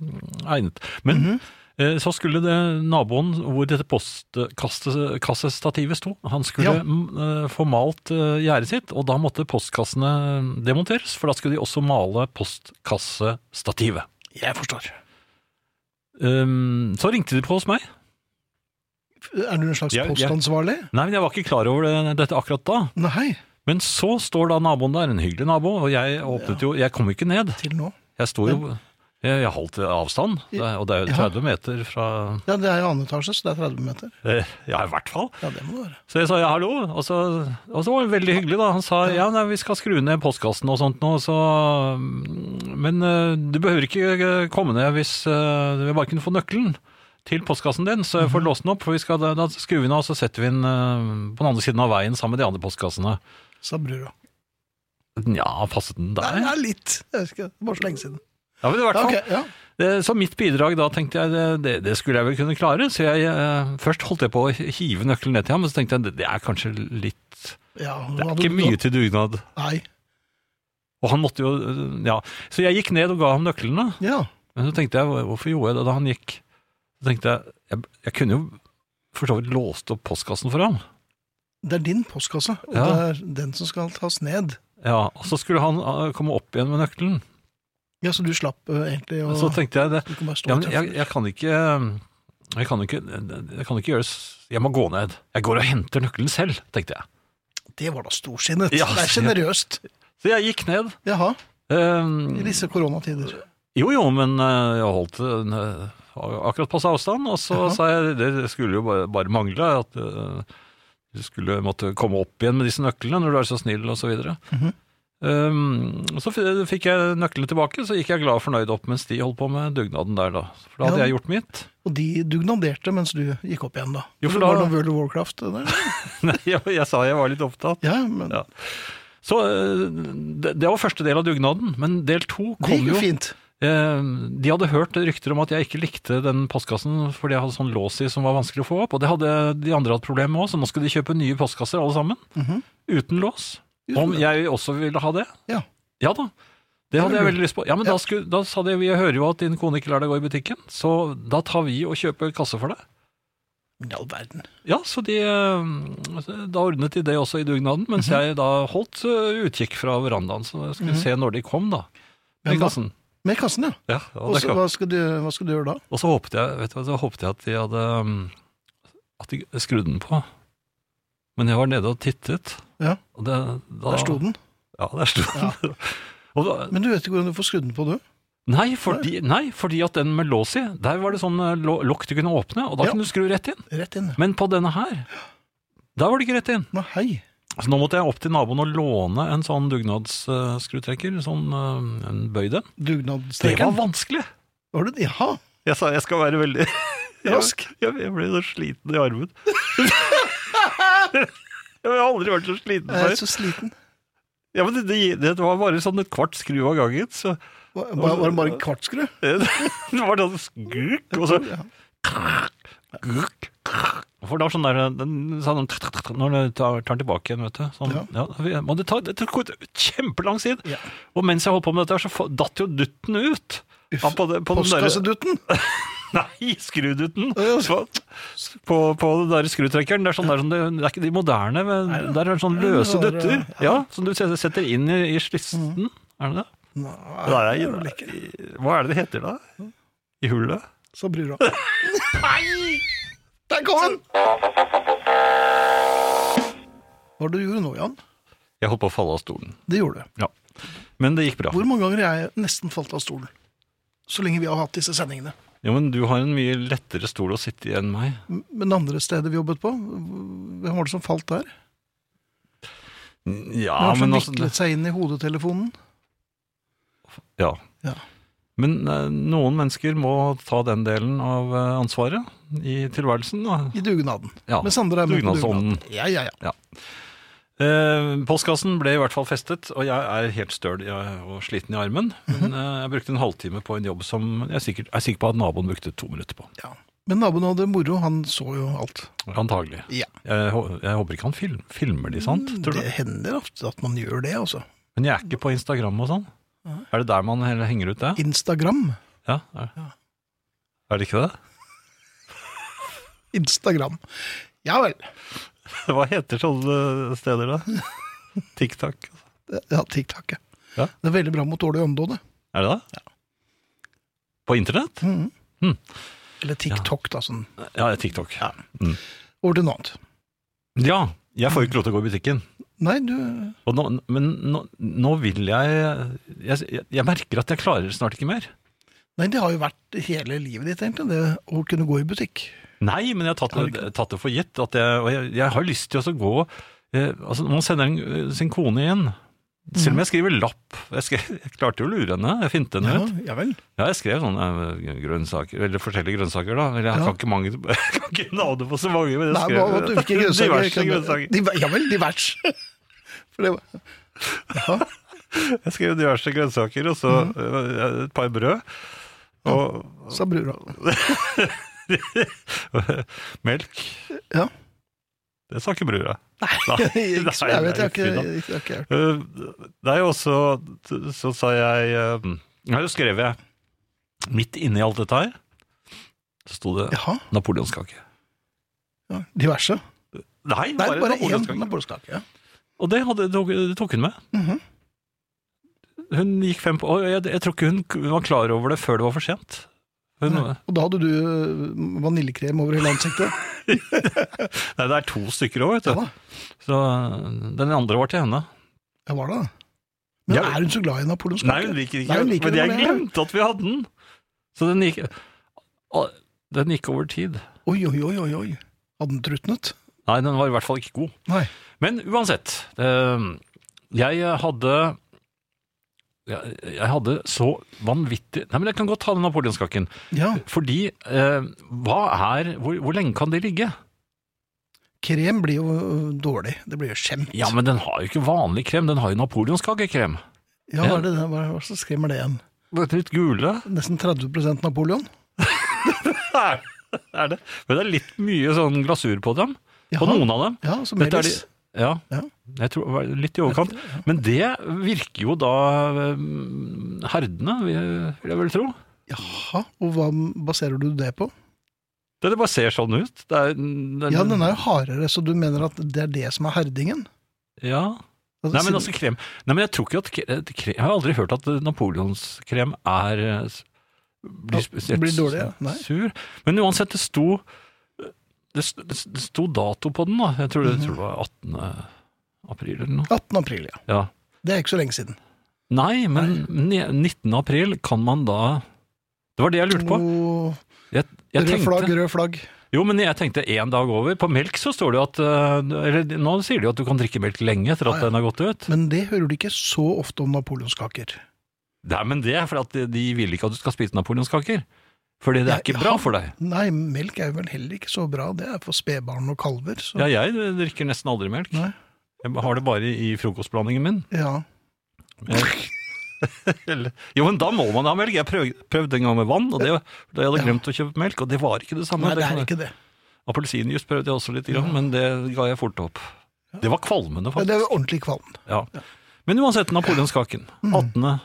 [SPEAKER 3] egnet. Men eh, så skulle det naboen hvor dette postkassestativet sto, han skulle
[SPEAKER 2] Ja.
[SPEAKER 3] mm, eh, få malt eh, gjerdet sitt, og da måtte postkassene demonteres, for da skulle de også male postkassestativet.
[SPEAKER 2] Jeg forstår.
[SPEAKER 3] Um, så ringte de på hos meg.
[SPEAKER 2] Er du en slags
[SPEAKER 3] Jeg- jeg-
[SPEAKER 2] postansvarlig?
[SPEAKER 3] Nei, men jeg var ikke klar over det, dette akkurat da.
[SPEAKER 2] Nei,
[SPEAKER 3] Men så står da naboen der, en hyggelig nabo, og jeg åpnet jo Jeg kom jo ikke ned.
[SPEAKER 2] til nå.
[SPEAKER 3] Jeg sto jo jeg, jeg holdt avstand, det er- og det er
[SPEAKER 2] Ja.
[SPEAKER 3] jo 30 meter fra
[SPEAKER 2] Ja, det er jo annen etasje, så det er 30 meter.
[SPEAKER 3] eh, Ja, i hvert fall.
[SPEAKER 2] Ja, det må det være.
[SPEAKER 3] Så jeg sa ja, hallo, og så, og så var det veldig hyggelig da. Han sa ja, nei, vi skal skru ned postkassen og sånt nå, så mm, Men eh, du behøver ikke eh, komme ned hvis eh, du vil bare kunne få nøkkelen til postkassen din, så jeg
[SPEAKER 2] Mhm.
[SPEAKER 3] får låst den opp, for vi skal, da, da skrur vi den av, så setter vi den eh, på den andre siden av veien sammen med de andre postkassene.
[SPEAKER 2] Sa brura.
[SPEAKER 3] Ja, passet den
[SPEAKER 2] Nei,
[SPEAKER 3] der?
[SPEAKER 2] det er litt. Jeg husker det. Bare så lenge siden.
[SPEAKER 3] Ja, men i hvert
[SPEAKER 2] Ja,
[SPEAKER 3] fall.
[SPEAKER 2] ok, ja.
[SPEAKER 3] Eh, Så mitt bidrag da tenkte jeg, det- det, det skulle jeg vel kunne klare, så jeg, eh, først holdt jeg på å hive nøkkelen ned til ham, men så tenkte jeg, det- det er kanskje litt,
[SPEAKER 2] ja
[SPEAKER 3] det er ikke mye til dugnad.
[SPEAKER 2] Nei.
[SPEAKER 3] Og han måtte jo øh, Ja. Så jeg gikk ned og ga ham nøklene.
[SPEAKER 2] Ja.
[SPEAKER 3] Men så tenkte jeg, hvor- hvorfor gjorde jeg det da han gikk? Så tenkte jeg, jeg, jeg kunne jo for så vidt låst opp postkassen for ham.
[SPEAKER 2] Det er din postkasse, og
[SPEAKER 3] Ja.
[SPEAKER 2] det er den som skal tas ned.
[SPEAKER 3] Ja, og så skulle han øh, komme opp igjen med nøkkelen.
[SPEAKER 2] Ja, så du slapp eh, egentlig å
[SPEAKER 3] Men Så tenkte jeg det.
[SPEAKER 2] Du kan bare stå
[SPEAKER 3] Ja,
[SPEAKER 2] og
[SPEAKER 3] men jeg,
[SPEAKER 2] treffe.
[SPEAKER 3] jeg kan ikke jeg kan ikke, jeg kan ikke gjøre det s- Jeg må gå ned. Jeg går og henter nøkkelen selv, tenkte jeg.
[SPEAKER 2] Det var da storsinnet.
[SPEAKER 3] Ja,
[SPEAKER 2] det er sjenerøst.
[SPEAKER 3] Så jeg gikk ned.
[SPEAKER 2] Jaha,
[SPEAKER 3] øhm,
[SPEAKER 2] i disse koronatider.
[SPEAKER 3] Jo, jo, men eh, jeg holdt en, eh, akkurat passe avstand, og så
[SPEAKER 2] Jaha.
[SPEAKER 3] sa jeg det skulle jo bare, bare mangle at eh, du skulle måtte komme opp igjen med disse nøklene når du er så snill, og så videre.
[SPEAKER 2] Mhm.
[SPEAKER 3] Um, og så f- fikk jeg nøklene tilbake, så gikk jeg glad og fornøyd opp mens de holdt på med dugnaden der, da. For da hadde
[SPEAKER 2] Ja.
[SPEAKER 3] jeg gjort mitt.
[SPEAKER 2] Og de dugnaderte mens du gikk opp igjen, da.
[SPEAKER 3] Jo, for
[SPEAKER 2] det var
[SPEAKER 3] da-
[SPEAKER 2] noe World of Warcraft. det Der.
[SPEAKER 3] Nei, jeg, jeg sa jeg var litt opptatt.
[SPEAKER 2] Ja, men
[SPEAKER 3] Ja. Så eh, det, det var første del av dugnaden, men del to
[SPEAKER 2] det
[SPEAKER 3] kom
[SPEAKER 2] gikk
[SPEAKER 3] jo
[SPEAKER 2] jo fint.
[SPEAKER 3] Eh, De hadde hørt rykter om at jeg ikke likte den postkassen fordi jeg hadde sånn lås i som var vanskelig å få opp, og det hadde de andre hatt problemer med òg, så nå skulle de kjøpe nye postkasser alle sammen.
[SPEAKER 2] Mhm.
[SPEAKER 3] Uten lås.
[SPEAKER 2] Uten
[SPEAKER 3] Om
[SPEAKER 2] lås.
[SPEAKER 3] jeg også ville ha det?
[SPEAKER 2] Ja.
[SPEAKER 3] Ja da. Det hadde
[SPEAKER 2] Det
[SPEAKER 3] jeg
[SPEAKER 2] var
[SPEAKER 3] veldig lyst på. Ja, men
[SPEAKER 2] Ja.
[SPEAKER 3] Da, skulle, da sa de vi hører jo at din kone ikke lar deg gå i butikken, så da tar vi og kjøper kasse for deg.
[SPEAKER 2] Men I all verden.
[SPEAKER 3] Ja, så de eh, Da ordnet de det også i dugnaden,
[SPEAKER 2] Mhm.
[SPEAKER 3] mens jeg da holdt eh, utkikk fra verandaen, så jeg skulle se når de kom, da.
[SPEAKER 2] Hvem
[SPEAKER 3] Med
[SPEAKER 2] Mhm. da?
[SPEAKER 3] kassen.
[SPEAKER 2] Med kassen, ja.
[SPEAKER 3] Ja, ja,
[SPEAKER 2] Og
[SPEAKER 3] det
[SPEAKER 2] så
[SPEAKER 3] kom.
[SPEAKER 2] hva, skal du- hva skal du gjøre da?
[SPEAKER 3] Og så håpet jeg, vet du, hva, så håpet jeg at de hadde um, At de skrudde den på. Men jeg var nede og tittet.
[SPEAKER 2] Ja.
[SPEAKER 3] Og det, da,
[SPEAKER 2] Der sto den.
[SPEAKER 3] Ja, der sto den. og da,
[SPEAKER 2] Men du vet ikke hvordan du får skrudd den på, du?
[SPEAKER 3] nei, fordi, nei, fordi at den med lås i, der var det sånn eh, lå- lokk du kunne åpne, og da
[SPEAKER 2] Ja.
[SPEAKER 3] kunne du skru rett inn.
[SPEAKER 2] Rett inn.
[SPEAKER 3] Men på denne her, der var det ikke rett inn.
[SPEAKER 2] Nå, hei.
[SPEAKER 3] Så nå måtte jeg opp til naboen og låne en sånn dugnadsskruttrekker, sånn eh, en bøyde. Det var
[SPEAKER 2] Dugnadstrekeren.
[SPEAKER 3] vanskelig!
[SPEAKER 2] Var det Jaha.
[SPEAKER 3] Jeg sa jeg skal være veldig
[SPEAKER 2] Rask.
[SPEAKER 3] Jeg, jeg, jeg ble så sliten i armen. jeg har aldri vært så sliten
[SPEAKER 2] Jeg er
[SPEAKER 3] før.
[SPEAKER 2] så sliten.
[SPEAKER 3] Ja, men det, det, det var bare sånn et kvart skru av gangen. Så
[SPEAKER 2] Var, var var det bare en kvartskru?
[SPEAKER 3] det var sånn skruk, og så
[SPEAKER 2] Ja.
[SPEAKER 3] skruk. For det var sånn der den, sånn, Når du tar, tar den tilbake igjen, vet du. Sånn, ja. men det, tar, det tok kjempelang tid.
[SPEAKER 2] Ja.
[SPEAKER 3] Og mens jeg holdt på med dette, her, så fa- datt jo dutten ut. Ja, på det- på den der-
[SPEAKER 2] Postkassedutten?
[SPEAKER 3] Nei, skruduten!
[SPEAKER 2] ja.
[SPEAKER 3] Så- På, på den der skrutrekkeren. Det er, sånn, det, er sånn, det det er ikke de moderne, men der er det sånn løse
[SPEAKER 2] det var- Mhm.
[SPEAKER 3] dutter. Ja, Som du setter- setter inn i, i slissen. Er det det?
[SPEAKER 2] Nei,
[SPEAKER 3] det er- Hva er det det heter da? I hullet?
[SPEAKER 2] så bryr du deg. Der kom den! Hva var det du gjorde nå, Jan?
[SPEAKER 3] Jeg holdt på å falle av stolen.
[SPEAKER 2] Det gjorde du.
[SPEAKER 3] Ja. Men det gikk bra.
[SPEAKER 2] Hvor mange ganger har jeg nesten falt av stolen? Så lenge vi har hatt disse sendingene.
[SPEAKER 3] Jo, men du har en mye lettere stol å sitte i enn meg.
[SPEAKER 2] Men andre steder vi jobbet på, hvem var det som falt der? Hvem var Mm. det
[SPEAKER 3] Ja,
[SPEAKER 2] som
[SPEAKER 3] men altså
[SPEAKER 2] viklet seg inn i hodetelefonen?
[SPEAKER 3] ja.
[SPEAKER 2] Ja.
[SPEAKER 3] Men eh, noen mennesker må ta den delen av eh, ansvaret i tilværelsen. Da.
[SPEAKER 2] I dugnaden.
[SPEAKER 3] Ja,
[SPEAKER 2] Mens andre er med på
[SPEAKER 3] dugnadsånden.
[SPEAKER 2] dugnaden. Ja, ja, ja.
[SPEAKER 3] Eh, postkassen ble i hvert fall festet, og jeg er helt støl i- og sliten i armen. Men eh, jeg brukte en halvtime på en jobb som jeg sikkert, er sikker på at naboen brukte to minutter på.
[SPEAKER 2] ja. Men naboen hadde moro, han så jo alt.
[SPEAKER 3] Antagelig.
[SPEAKER 2] Ja.
[SPEAKER 3] Jeg, hå- jeg håper ikke han film, filmer de, sant? Tror
[SPEAKER 2] Det
[SPEAKER 3] du?
[SPEAKER 2] hender ofte at man gjør det, altså.
[SPEAKER 3] Men jeg er ikke på Instagram og sånn. Er det der man heller henger ut det?
[SPEAKER 2] Instagram.
[SPEAKER 3] Ja, er, er det ikke det?
[SPEAKER 2] Instagram. Ja vel.
[SPEAKER 3] Hva heter sånne steder da? TikTok?
[SPEAKER 2] Ja, TikTok, ja.
[SPEAKER 3] Ja.
[SPEAKER 2] Det er veldig bra mot dårlig omdåde.
[SPEAKER 3] Er det det? På internett? Mm.
[SPEAKER 2] Eller TikTok, da. sånn.
[SPEAKER 3] Ja, TikTok. Ja, mm.
[SPEAKER 2] Over til noe annet.
[SPEAKER 3] ja jeg får jo ikke lov til å gå i butikken.
[SPEAKER 2] Nei, du
[SPEAKER 3] Og nå, men nå, nå vil jeg, jeg Jeg merker at jeg klarer snart ikke mer.
[SPEAKER 2] Nei, det har jo vært hele livet ditt, egentlig, det å kunne gå i butikk.
[SPEAKER 3] Nei, men jeg har tatt,
[SPEAKER 2] Har du ikke
[SPEAKER 3] tatt det for gitt. At jeg, og jeg, jeg har lyst til å så gå eh, altså, Nå sender en, eh, sin kone igjen. Selv om jeg skriver lapp. Jeg, skrev, jeg klarte jo å lure henne. Jeg finte henne ut.
[SPEAKER 2] ja vel.
[SPEAKER 3] Ja, jeg skrev sånne eh, grønnsaker, eller forskjellige grønnsaker, da. Eller jeg
[SPEAKER 2] Ja.
[SPEAKER 3] kan ikke, mange, jeg kan ikke navnet på så mange, men jeg
[SPEAKER 2] Nei, hva, hva, hvilke
[SPEAKER 3] skrev
[SPEAKER 2] grønnsaker?
[SPEAKER 3] diverse
[SPEAKER 2] kan-
[SPEAKER 3] grønnsaker.
[SPEAKER 2] Diver- Ja vel, divers. For det var Jaha.
[SPEAKER 3] Jeg skrev diverse grønnsaker, og så
[SPEAKER 2] Mhm.
[SPEAKER 3] eh, et par brød. Og,
[SPEAKER 2] Sa brura.
[SPEAKER 3] Melk.
[SPEAKER 2] Ja.
[SPEAKER 3] Det sa ikke brura.
[SPEAKER 2] Ikke som jeg vet, jeg har ikke,
[SPEAKER 3] fy da.
[SPEAKER 2] ikke, ikke, ikke.
[SPEAKER 3] Eh, Det er jo også Så sa jeg eh, Ja, det skrev jeg. Midt inni alt dette her så sto det
[SPEAKER 2] Jaha.
[SPEAKER 3] napoleonskake.
[SPEAKER 2] Ja, diverse.
[SPEAKER 3] Nei,
[SPEAKER 2] Nei,
[SPEAKER 3] bare,
[SPEAKER 2] bare én
[SPEAKER 3] napoleonskake.
[SPEAKER 2] napoleonskake. Ja.
[SPEAKER 3] Og det, hadde, det tok- det tok hun med.
[SPEAKER 2] Mhm.
[SPEAKER 3] Hun gikk fem på og jeg, jeg tror ikke hun k- var klar over det før det var for sent. Hun, nei.
[SPEAKER 2] Og da hadde du øh, vaniljekrem over hele ansiktet.
[SPEAKER 3] det er to stykker òg, vet
[SPEAKER 2] Ja
[SPEAKER 3] du.
[SPEAKER 2] da,
[SPEAKER 3] så øh, den andre var til henne.
[SPEAKER 2] jeg var det. Men
[SPEAKER 3] Ja.
[SPEAKER 2] er hun så glad i napoleonskake?
[SPEAKER 3] Nei, hun liker ikke
[SPEAKER 2] Nei, hun
[SPEAKER 3] den,
[SPEAKER 2] liker
[SPEAKER 3] men
[SPEAKER 2] den,
[SPEAKER 3] jeg
[SPEAKER 2] men-
[SPEAKER 3] glemte at vi hadde den. Så den gikk, Å, den gikk over tid.
[SPEAKER 2] Oi, oi, oi, oi, oi. Hadde den trutnet?
[SPEAKER 3] Nei, den var i hvert fall ikke god.
[SPEAKER 2] Nei.
[SPEAKER 3] Men uansett, eh, jeg hadde jeg, jeg hadde så vanvittig Nei, men jeg kan godt ta den napoleonskaken.
[SPEAKER 2] Ja,
[SPEAKER 3] Fordi eh, hva er hvor, hvor lenge kan det ligge?
[SPEAKER 2] krem blir jo øh, dårlig. Det blir jo skjemt.
[SPEAKER 3] Ja, men den har jo ikke vanlig krem, den har jo napoleonskakekrem.
[SPEAKER 2] Ja, hva er det det- hva er det som skremmer det igjen?
[SPEAKER 3] Det er litt gule.
[SPEAKER 2] Nesten 30 Napoleon?
[SPEAKER 3] Er, er det? Men det er litt mye sånn glasur på dem. På
[SPEAKER 2] Jaha.
[SPEAKER 3] noen av dem.
[SPEAKER 2] Ja, som
[SPEAKER 3] Dette er
[SPEAKER 2] Melis.
[SPEAKER 3] de- ja,
[SPEAKER 2] Ja.
[SPEAKER 3] jeg tror det var litt i overkant. Men det virker jo da eh, herdene, vil vil jeg vel tro.
[SPEAKER 2] Jaha, og hva baserer du det på?
[SPEAKER 3] Det, det bare ser sånn ut. Det er, det
[SPEAKER 2] Ja, den er jo hardere, så du mener at det er det som er herdingen?
[SPEAKER 3] Ja.
[SPEAKER 2] Altså,
[SPEAKER 3] Nei, men
[SPEAKER 2] siden-
[SPEAKER 3] altså krem Nei, men jeg tror ikke at kre- at krem Jeg har aldri hørt at eh, napoleonskrem er eh, s-
[SPEAKER 2] Ja,
[SPEAKER 3] Blir spesielt
[SPEAKER 2] blir dårlig, ja. Nei.
[SPEAKER 3] sur. Men uansett, det sto det st- det sto dato på den, da. Jeg tror, jeg tror det var 18. april eller noe.
[SPEAKER 2] 18. april, ja.
[SPEAKER 3] Ja.
[SPEAKER 2] Det er ikke så lenge siden.
[SPEAKER 3] Nei, men ne- 19. april kan man da Det var det jeg lurte på.
[SPEAKER 2] Og
[SPEAKER 3] Jeg, jeg
[SPEAKER 2] Rød flagg,
[SPEAKER 3] tenkte,
[SPEAKER 2] rød flagg.
[SPEAKER 3] jo, men jeg tenkte én dag over. På melk så står det jo at eh, Eller nå sier de jo at du kan drikke melk lenge etter at
[SPEAKER 2] Ja, ja.
[SPEAKER 3] den har gått ut.
[SPEAKER 2] Men det hører du ikke så ofte om napoleonskaker.
[SPEAKER 3] Nei, men det er fordi at de- de vil ikke at du skal spise napoleonskaker. Fordi det
[SPEAKER 2] Ja,
[SPEAKER 3] er ikke
[SPEAKER 2] ja.
[SPEAKER 3] bra for deg.
[SPEAKER 2] Nei, melk er vel heller ikke så bra. Det er for spedbarn og kalver. Så.
[SPEAKER 3] Ja, jeg drikker nesten aldri melk.
[SPEAKER 2] Nei.
[SPEAKER 3] Jeg har det bare i frokostblandingen min.
[SPEAKER 2] Ja.
[SPEAKER 3] Eller- Jo, men da må man ha melk. Jeg prøv, prøvde en gang med vann, og det, da jeg hadde
[SPEAKER 2] Ja.
[SPEAKER 3] glemt å kjøpe melk, og det var ikke det samme.
[SPEAKER 2] Nei, det
[SPEAKER 3] kan
[SPEAKER 2] er
[SPEAKER 3] jeg-
[SPEAKER 2] ikke det.
[SPEAKER 3] Appelsinjuice prøvde jeg også litt, grann, men det ga jeg fort opp. Det var kvalmende,
[SPEAKER 2] Ja, Det er
[SPEAKER 3] faktisk.
[SPEAKER 2] jo ordentlig kvalm.
[SPEAKER 3] Ja. Men uansett, napoleonskaken.
[SPEAKER 2] Mm.
[SPEAKER 3] 18.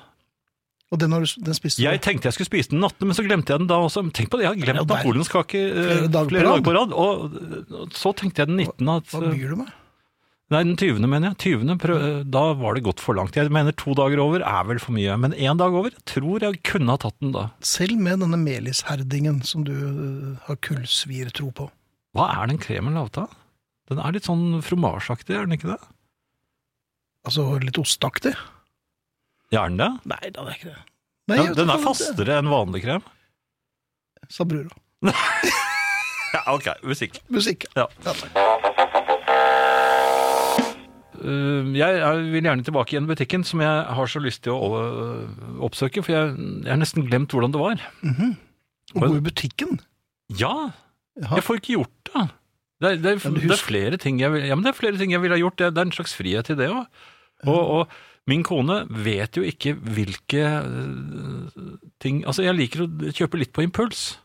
[SPEAKER 2] Og den, har du, den spiste
[SPEAKER 3] Jeg
[SPEAKER 2] du
[SPEAKER 3] tenkte jeg skulle spise den 18., men så glemte jeg den da også. Men Tenk på det, jeg har
[SPEAKER 2] Ja,
[SPEAKER 3] glemt
[SPEAKER 2] der.
[SPEAKER 3] napoleonskake eh,
[SPEAKER 2] Flere dager på
[SPEAKER 3] flere
[SPEAKER 2] rad.
[SPEAKER 3] dager på rad. Og og så tenkte jeg den 19. At, eh,
[SPEAKER 2] Hva byr du med?
[SPEAKER 3] nei, den 20. mener jeg. 20. Prøv, eh, da var det gått for langt. Jeg mener to dager over er vel for mye, men én dag over tror jeg kunne ha tatt den da.
[SPEAKER 2] Selv med denne melisherdingen som du øh, har kullsviertro på.
[SPEAKER 3] Hva er den kremen laget av? Den er litt sånn fromasjeaktig, er den ikke det?
[SPEAKER 2] Altså litt osteaktig?
[SPEAKER 3] Ja, er den det?
[SPEAKER 2] Nei da, det er ikke det.
[SPEAKER 3] Ja, den er fastere enn vanlig krem.
[SPEAKER 2] Sa brura.
[SPEAKER 3] Ja, ok, musikk.
[SPEAKER 2] Musikk.
[SPEAKER 3] Ja.
[SPEAKER 2] Ja, takk.
[SPEAKER 3] Øh, jeg er- vil gjerne tilbake igjen i butikken, som jeg har så lyst til å øh, oppsøke, for jeg, jeg har nesten glemt hvordan det var.
[SPEAKER 2] Å gå i butikken?
[SPEAKER 3] Ja,
[SPEAKER 2] Jaha.
[SPEAKER 3] jeg får ikke gjort det. Det er, det er,
[SPEAKER 2] Men du
[SPEAKER 3] det er
[SPEAKER 2] husker-
[SPEAKER 3] flere ting jeg vil, ja, men det er flere ting jeg ville ha gjort. Det er, det er en slags frihet i det òg. Og, og min kone vet jo ikke hvilke øh, ting Altså, jeg liker å kjøpe litt på impuls.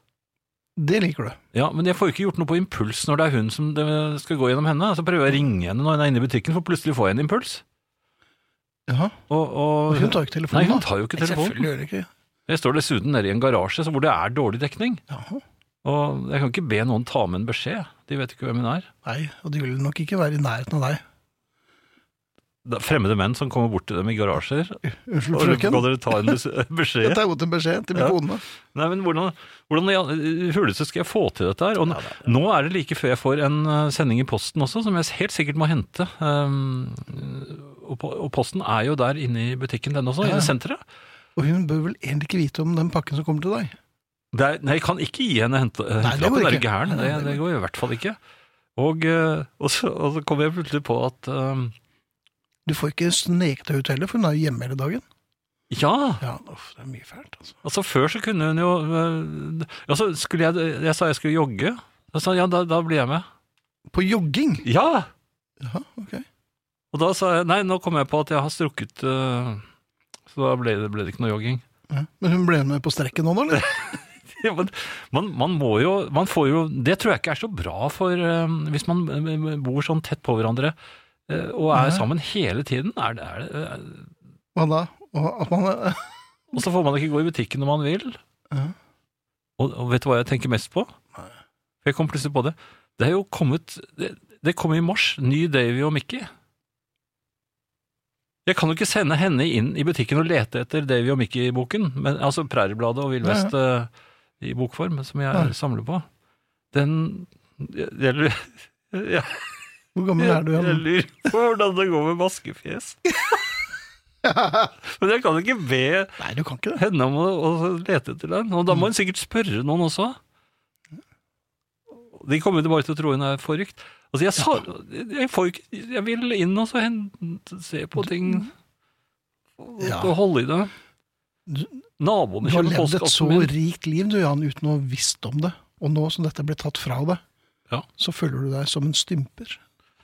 [SPEAKER 2] Det liker du.
[SPEAKER 3] Ja, men jeg får jo ikke gjort noe på impuls når det er hun som det skal gå gjennom henne. Så prøver jeg å ringe henne når hun er inne i butikken, for plutselig får jeg en impuls.
[SPEAKER 2] Jaha.
[SPEAKER 3] Og, og,
[SPEAKER 2] Og hun tar jo ikke telefonen,
[SPEAKER 3] Nei, hun
[SPEAKER 2] da.
[SPEAKER 3] tar jo ikke telefonen.
[SPEAKER 2] Selvfølgelig gjør det ikke.
[SPEAKER 3] Jeg står dessuten nede i en garasje så hvor det er dårlig dekning.
[SPEAKER 2] Jaha.
[SPEAKER 3] Og jeg kan ikke be noen ta med en beskjed. De vet ikke hvem hun er.
[SPEAKER 2] Nei, og de vil nok ikke være i nærheten av deg.
[SPEAKER 3] Det er fremmede menn som kommer bort til dem i garasjer.
[SPEAKER 2] Unnskyld,
[SPEAKER 3] Og
[SPEAKER 2] frøken.
[SPEAKER 3] kan dere ta en bes-
[SPEAKER 2] Jeg
[SPEAKER 3] beskjed?
[SPEAKER 2] tar imot en beskjed til min
[SPEAKER 3] Ja.
[SPEAKER 2] kone.
[SPEAKER 3] Nei, men hvordan, hvordan i all- i huleste skal jeg få til dette her? Og nå- nå er det like før jeg får en eh, sending i posten også, som jeg helt sikkert må hente. Um, og, po- og posten er jo der inne i butikken, den også,
[SPEAKER 2] Ja.
[SPEAKER 3] i senteret.
[SPEAKER 2] Og hun bør vel egentlig ikke vite om den pakken som kommer til deg.
[SPEAKER 3] Det er, nei, jeg kan ikke gi henne hente-
[SPEAKER 2] det går
[SPEAKER 3] hentelappen, det er
[SPEAKER 2] ikke.
[SPEAKER 3] ikke her,
[SPEAKER 2] Nei,
[SPEAKER 3] det,
[SPEAKER 2] nei, det
[SPEAKER 3] det går jo i hvert fall ikke. Og, eh, og, så, og så kom jeg plutselig på at eh,
[SPEAKER 2] Du får ikke sneket deg ut heller, for hun er jo hjemme hele dagen.
[SPEAKER 3] ja,
[SPEAKER 2] Ja, uff, det er mye fælt, altså.
[SPEAKER 3] altså før så kunne hun jo eh, altså skulle jeg, jeg sa jeg skulle jogge, da sa hun, ja, da, da blir jeg med.
[SPEAKER 2] På jogging?
[SPEAKER 3] Ja!
[SPEAKER 2] Jaha, ok.
[SPEAKER 3] Og da sa jeg, nei, nå kom jeg på at jeg har strukket, eh, så da ble det, ble det ikke noe jogging.
[SPEAKER 2] Ja. Men hun ble med på strekken nå, da? eller?
[SPEAKER 3] Men man, man må jo Man får jo Det tror jeg ikke er så bra for eh, Hvis man eh, bor sånn tett på hverandre eh, og er sammen hele tiden. Er det, er det, eh,
[SPEAKER 2] Hva da? Og at man eh,
[SPEAKER 3] og så får man ikke gå i butikken når man vil.
[SPEAKER 2] Ja.
[SPEAKER 3] Og, og vet du hva jeg tenker mest på? For jeg kom plutselig på det. Det er jo kommet Det, det kom i mars, ny Davy og Mickey. Jeg kan jo ikke sende henne inn i butikken og lete etter Davy og Mickey-boken, men altså Præriebladet og Vill
[SPEAKER 2] Ja, ja.
[SPEAKER 3] Vest eh, i bokform, som jeg
[SPEAKER 2] Ja.
[SPEAKER 3] samler på. Den jeg, jeg, jeg,
[SPEAKER 2] Hvor gammel er du
[SPEAKER 3] jeg, jeg
[SPEAKER 2] igjen?
[SPEAKER 3] lurer på hvordan det går med maskefjes. Men jeg kan ikke be
[SPEAKER 2] Nei, du kan ikke det.
[SPEAKER 3] henne om å, å lete etter den. Og da
[SPEAKER 2] Mm.
[SPEAKER 3] må hun sikkert spørre noen også. De kommer jo bare til å tro hun er forrykt. Altså, jeg, sa, jeg, får jo ikke, jeg vil inn og så hen- se på ting og
[SPEAKER 2] Ja.
[SPEAKER 3] og holde i det.
[SPEAKER 2] Du-
[SPEAKER 3] Naboene
[SPEAKER 2] Du har
[SPEAKER 3] kjøper
[SPEAKER 2] levd et så
[SPEAKER 3] postkassen min.
[SPEAKER 2] rikt liv du, Jan, uten å ha visst om det. Og nå som dette ble tatt fra deg,
[SPEAKER 3] Ja.
[SPEAKER 2] så føler du deg som en stymper.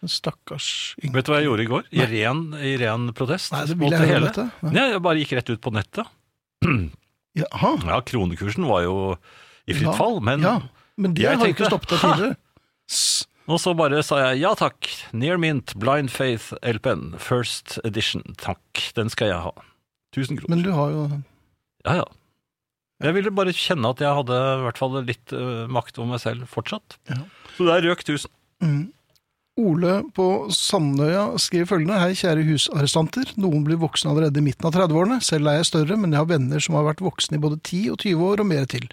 [SPEAKER 2] En stakkars yngre.
[SPEAKER 3] Vet du hva jeg gjorde i går? I ren, i ren protest.
[SPEAKER 2] Nei, det
[SPEAKER 3] mot
[SPEAKER 2] vil jeg høre
[SPEAKER 3] hele.
[SPEAKER 2] dette. Ja.
[SPEAKER 3] Nei, jeg bare gikk rett ut på nettet.
[SPEAKER 2] Jaha.
[SPEAKER 3] Ja, kronekursen var jo i fritt
[SPEAKER 2] Ja.
[SPEAKER 3] fall, men
[SPEAKER 2] Ja, men det
[SPEAKER 3] Jeg
[SPEAKER 2] har jo ikke
[SPEAKER 3] tenkte,
[SPEAKER 2] stoppet deg
[SPEAKER 3] ha!
[SPEAKER 2] tidligere.
[SPEAKER 3] Og så bare sa jeg ja takk, Near Mint Blind Faith LPN, first edition, takk, den skal jeg ha. 1000 kroner.
[SPEAKER 2] Men du har jo
[SPEAKER 3] Ja, ja. Jeg ville bare kjenne at jeg hadde i hvert fall litt eh, makt over meg selv fortsatt.
[SPEAKER 2] Ja.
[SPEAKER 3] Så der røk 1000.
[SPEAKER 2] Mm. Ole på Sandøya skriver følgende. Hei, kjære husarrestanter. Noen blir voksne allerede i midten av 30-årene. Selv er jeg større, men jeg har venner som har vært voksne i både 10 og 20 år og mer til.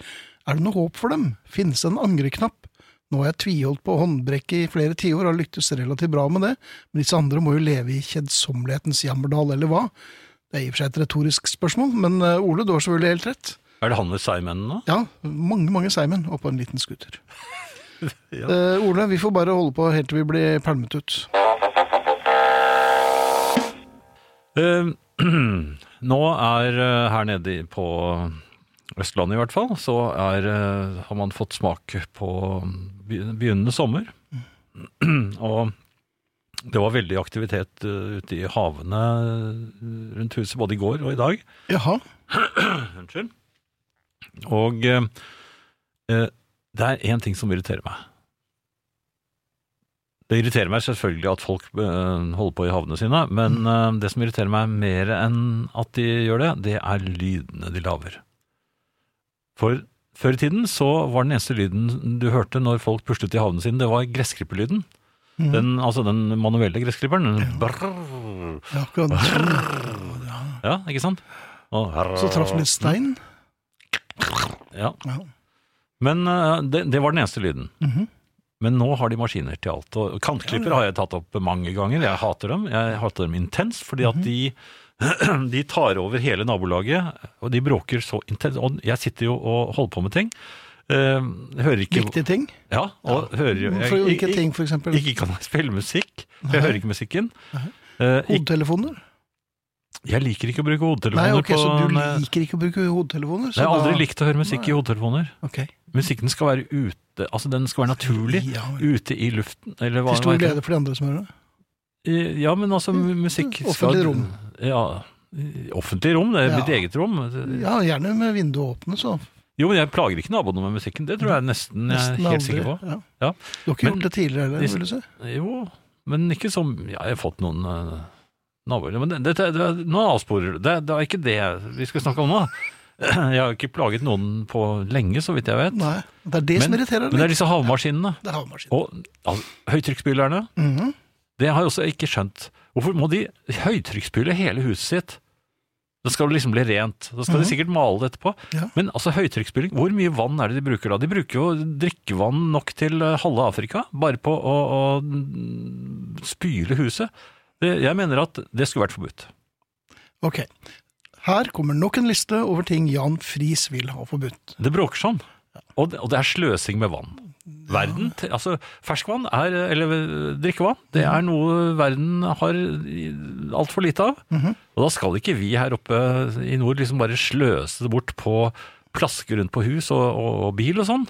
[SPEAKER 2] Er det noe håp for dem? Finnes det en angreknapp? Nå har jeg tviholdt på håndbrekket i flere tiår og har lyktes relativt bra med det, men disse andre må jo leve i kjedsommelighetens jammerdal, eller hva? Det er i og for seg et retorisk spørsmål, men eh, Ole, du har selvfølgelig helt rett.
[SPEAKER 3] Er det han med seigmennene nå?
[SPEAKER 2] Ja, mange, mange seigmenn og på en liten scooter. Eh, Ole, vi får bare holde på helt til vi blir pælmet ut.
[SPEAKER 3] Eh, nå er eh, her nede i- på Østlandet i hvert fall, så er, eh, har man fått smak på be- begynnende sommer. Og det var veldig aktivitet eh, ute i havene eh, rundt huset både i går og i dag.
[SPEAKER 2] Jaha.
[SPEAKER 3] Unnskyld. Og eh, eh, det er én ting som irriterer meg. Det irriterer meg selvfølgelig at folk eh, holder på i havene sine, men eh, det som irriterer meg mer enn at de gjør det, det er lydene de lager. For før i tiden så var den eneste lyden du hørte når folk puslet i havene sine, det var gressklipperlyden.
[SPEAKER 2] Mhm.
[SPEAKER 3] Den, altså den manuelle gressklipperen. den brrrr.
[SPEAKER 2] Ja, akkurat.
[SPEAKER 3] Ja, ikke sant? Og
[SPEAKER 2] Så traff den litt stein.
[SPEAKER 3] Ja.
[SPEAKER 2] Ja.
[SPEAKER 3] Men eh, det, det var den eneste lyden.
[SPEAKER 2] Mhm.
[SPEAKER 3] Men nå har de maskiner til alt. Og kantklippere har jeg tatt opp mange ganger. Jeg hater dem. Jeg hater dem intenst, fordi at
[SPEAKER 2] Mhm.
[SPEAKER 3] de, de tar over hele nabolaget, og de bråker så intenst. Og jeg sitter jo og holder på med ting. Eh, hører ikke
[SPEAKER 2] Viktige ting.
[SPEAKER 3] Ja, og hører jo
[SPEAKER 2] For hvilke ting, for eksempel?
[SPEAKER 3] Ikke kan jeg spille musikk. Jeg hører ikke musikken. Eh, ikke,
[SPEAKER 2] Hodetelefoner?
[SPEAKER 3] jeg liker ikke å bruke
[SPEAKER 2] Nei,
[SPEAKER 3] hodetelefoner
[SPEAKER 2] ok,
[SPEAKER 3] på
[SPEAKER 2] så du
[SPEAKER 3] nei,
[SPEAKER 2] liker ikke å bruke hodetelefoner?
[SPEAKER 3] Jeg har aldri likt å høre musikk i hodetelefoner.
[SPEAKER 2] Ok.
[SPEAKER 3] Musikken skal være ute, altså den skal være naturlig.
[SPEAKER 2] Ja, vel.
[SPEAKER 3] Ute i luften, eller hva
[SPEAKER 2] Til stor
[SPEAKER 3] hva heter
[SPEAKER 2] glede for de andre som hører det.
[SPEAKER 3] det? Ja, men altså musikk skal-
[SPEAKER 2] Offentlig rom.
[SPEAKER 3] Ja. Offentlig rom, det er
[SPEAKER 2] Ja.
[SPEAKER 3] mitt eget rom.
[SPEAKER 2] Ja, gjerne med vinduet åpne, så.
[SPEAKER 3] Jo, men jeg plager ikke naboene med musikken, det tror jeg nesten jeg er
[SPEAKER 2] Nesten
[SPEAKER 3] helt
[SPEAKER 2] aldri.
[SPEAKER 3] sikker på.
[SPEAKER 2] Ja.
[SPEAKER 3] Ja.
[SPEAKER 2] Du har ikke
[SPEAKER 3] Men-
[SPEAKER 2] gjort det tidligere heller,
[SPEAKER 3] Disse-
[SPEAKER 2] vil du si?
[SPEAKER 3] Jo, men ikke som ja, Jeg har fått noen eh, naboer Men det, dette- det, nå avsporer du. Det, det er ikke det vi skal snakke om nå. Jeg har ikke plaget noen på lenge, så vidt jeg vet.
[SPEAKER 2] Nei. Det er det som
[SPEAKER 3] Men,
[SPEAKER 2] irriterer
[SPEAKER 3] men det
[SPEAKER 2] deg
[SPEAKER 3] er
[SPEAKER 2] litt.
[SPEAKER 3] disse havmaskinene.
[SPEAKER 2] Det er havmaskin.
[SPEAKER 3] Og altså, høytrykksspylerne.
[SPEAKER 2] Mhm.
[SPEAKER 3] Det har jeg også ikke skjønt. Hvorfor må de høytrykksspyle hele huset sitt? Da skal det liksom bli rent. Da skal de sikkert male det etterpå.
[SPEAKER 2] Ja.
[SPEAKER 3] Men altså høytrykksspyling, hvor mye vann er det de bruker da? De bruker jo drikkevann nok til eh, halve Afrika, bare på å, å mm, spyle huset. Det, jeg mener at det skulle vært forbudt.
[SPEAKER 2] Ok. Her kommer nok en liste over ting Jan Friis vil ha forbudt.
[SPEAKER 3] Det bråker sånn. Og det, og det er sløsing med vann. Verden, te- altså Ferskvann, er, eller eh, drikkevann, det
[SPEAKER 2] Mhm.
[SPEAKER 3] er noe verden har altfor lite av.
[SPEAKER 2] Mhm.
[SPEAKER 3] Og da skal ikke vi her oppe i nord liksom bare sløse det bort på plaske rundt på hus og, og, og bil og sånn.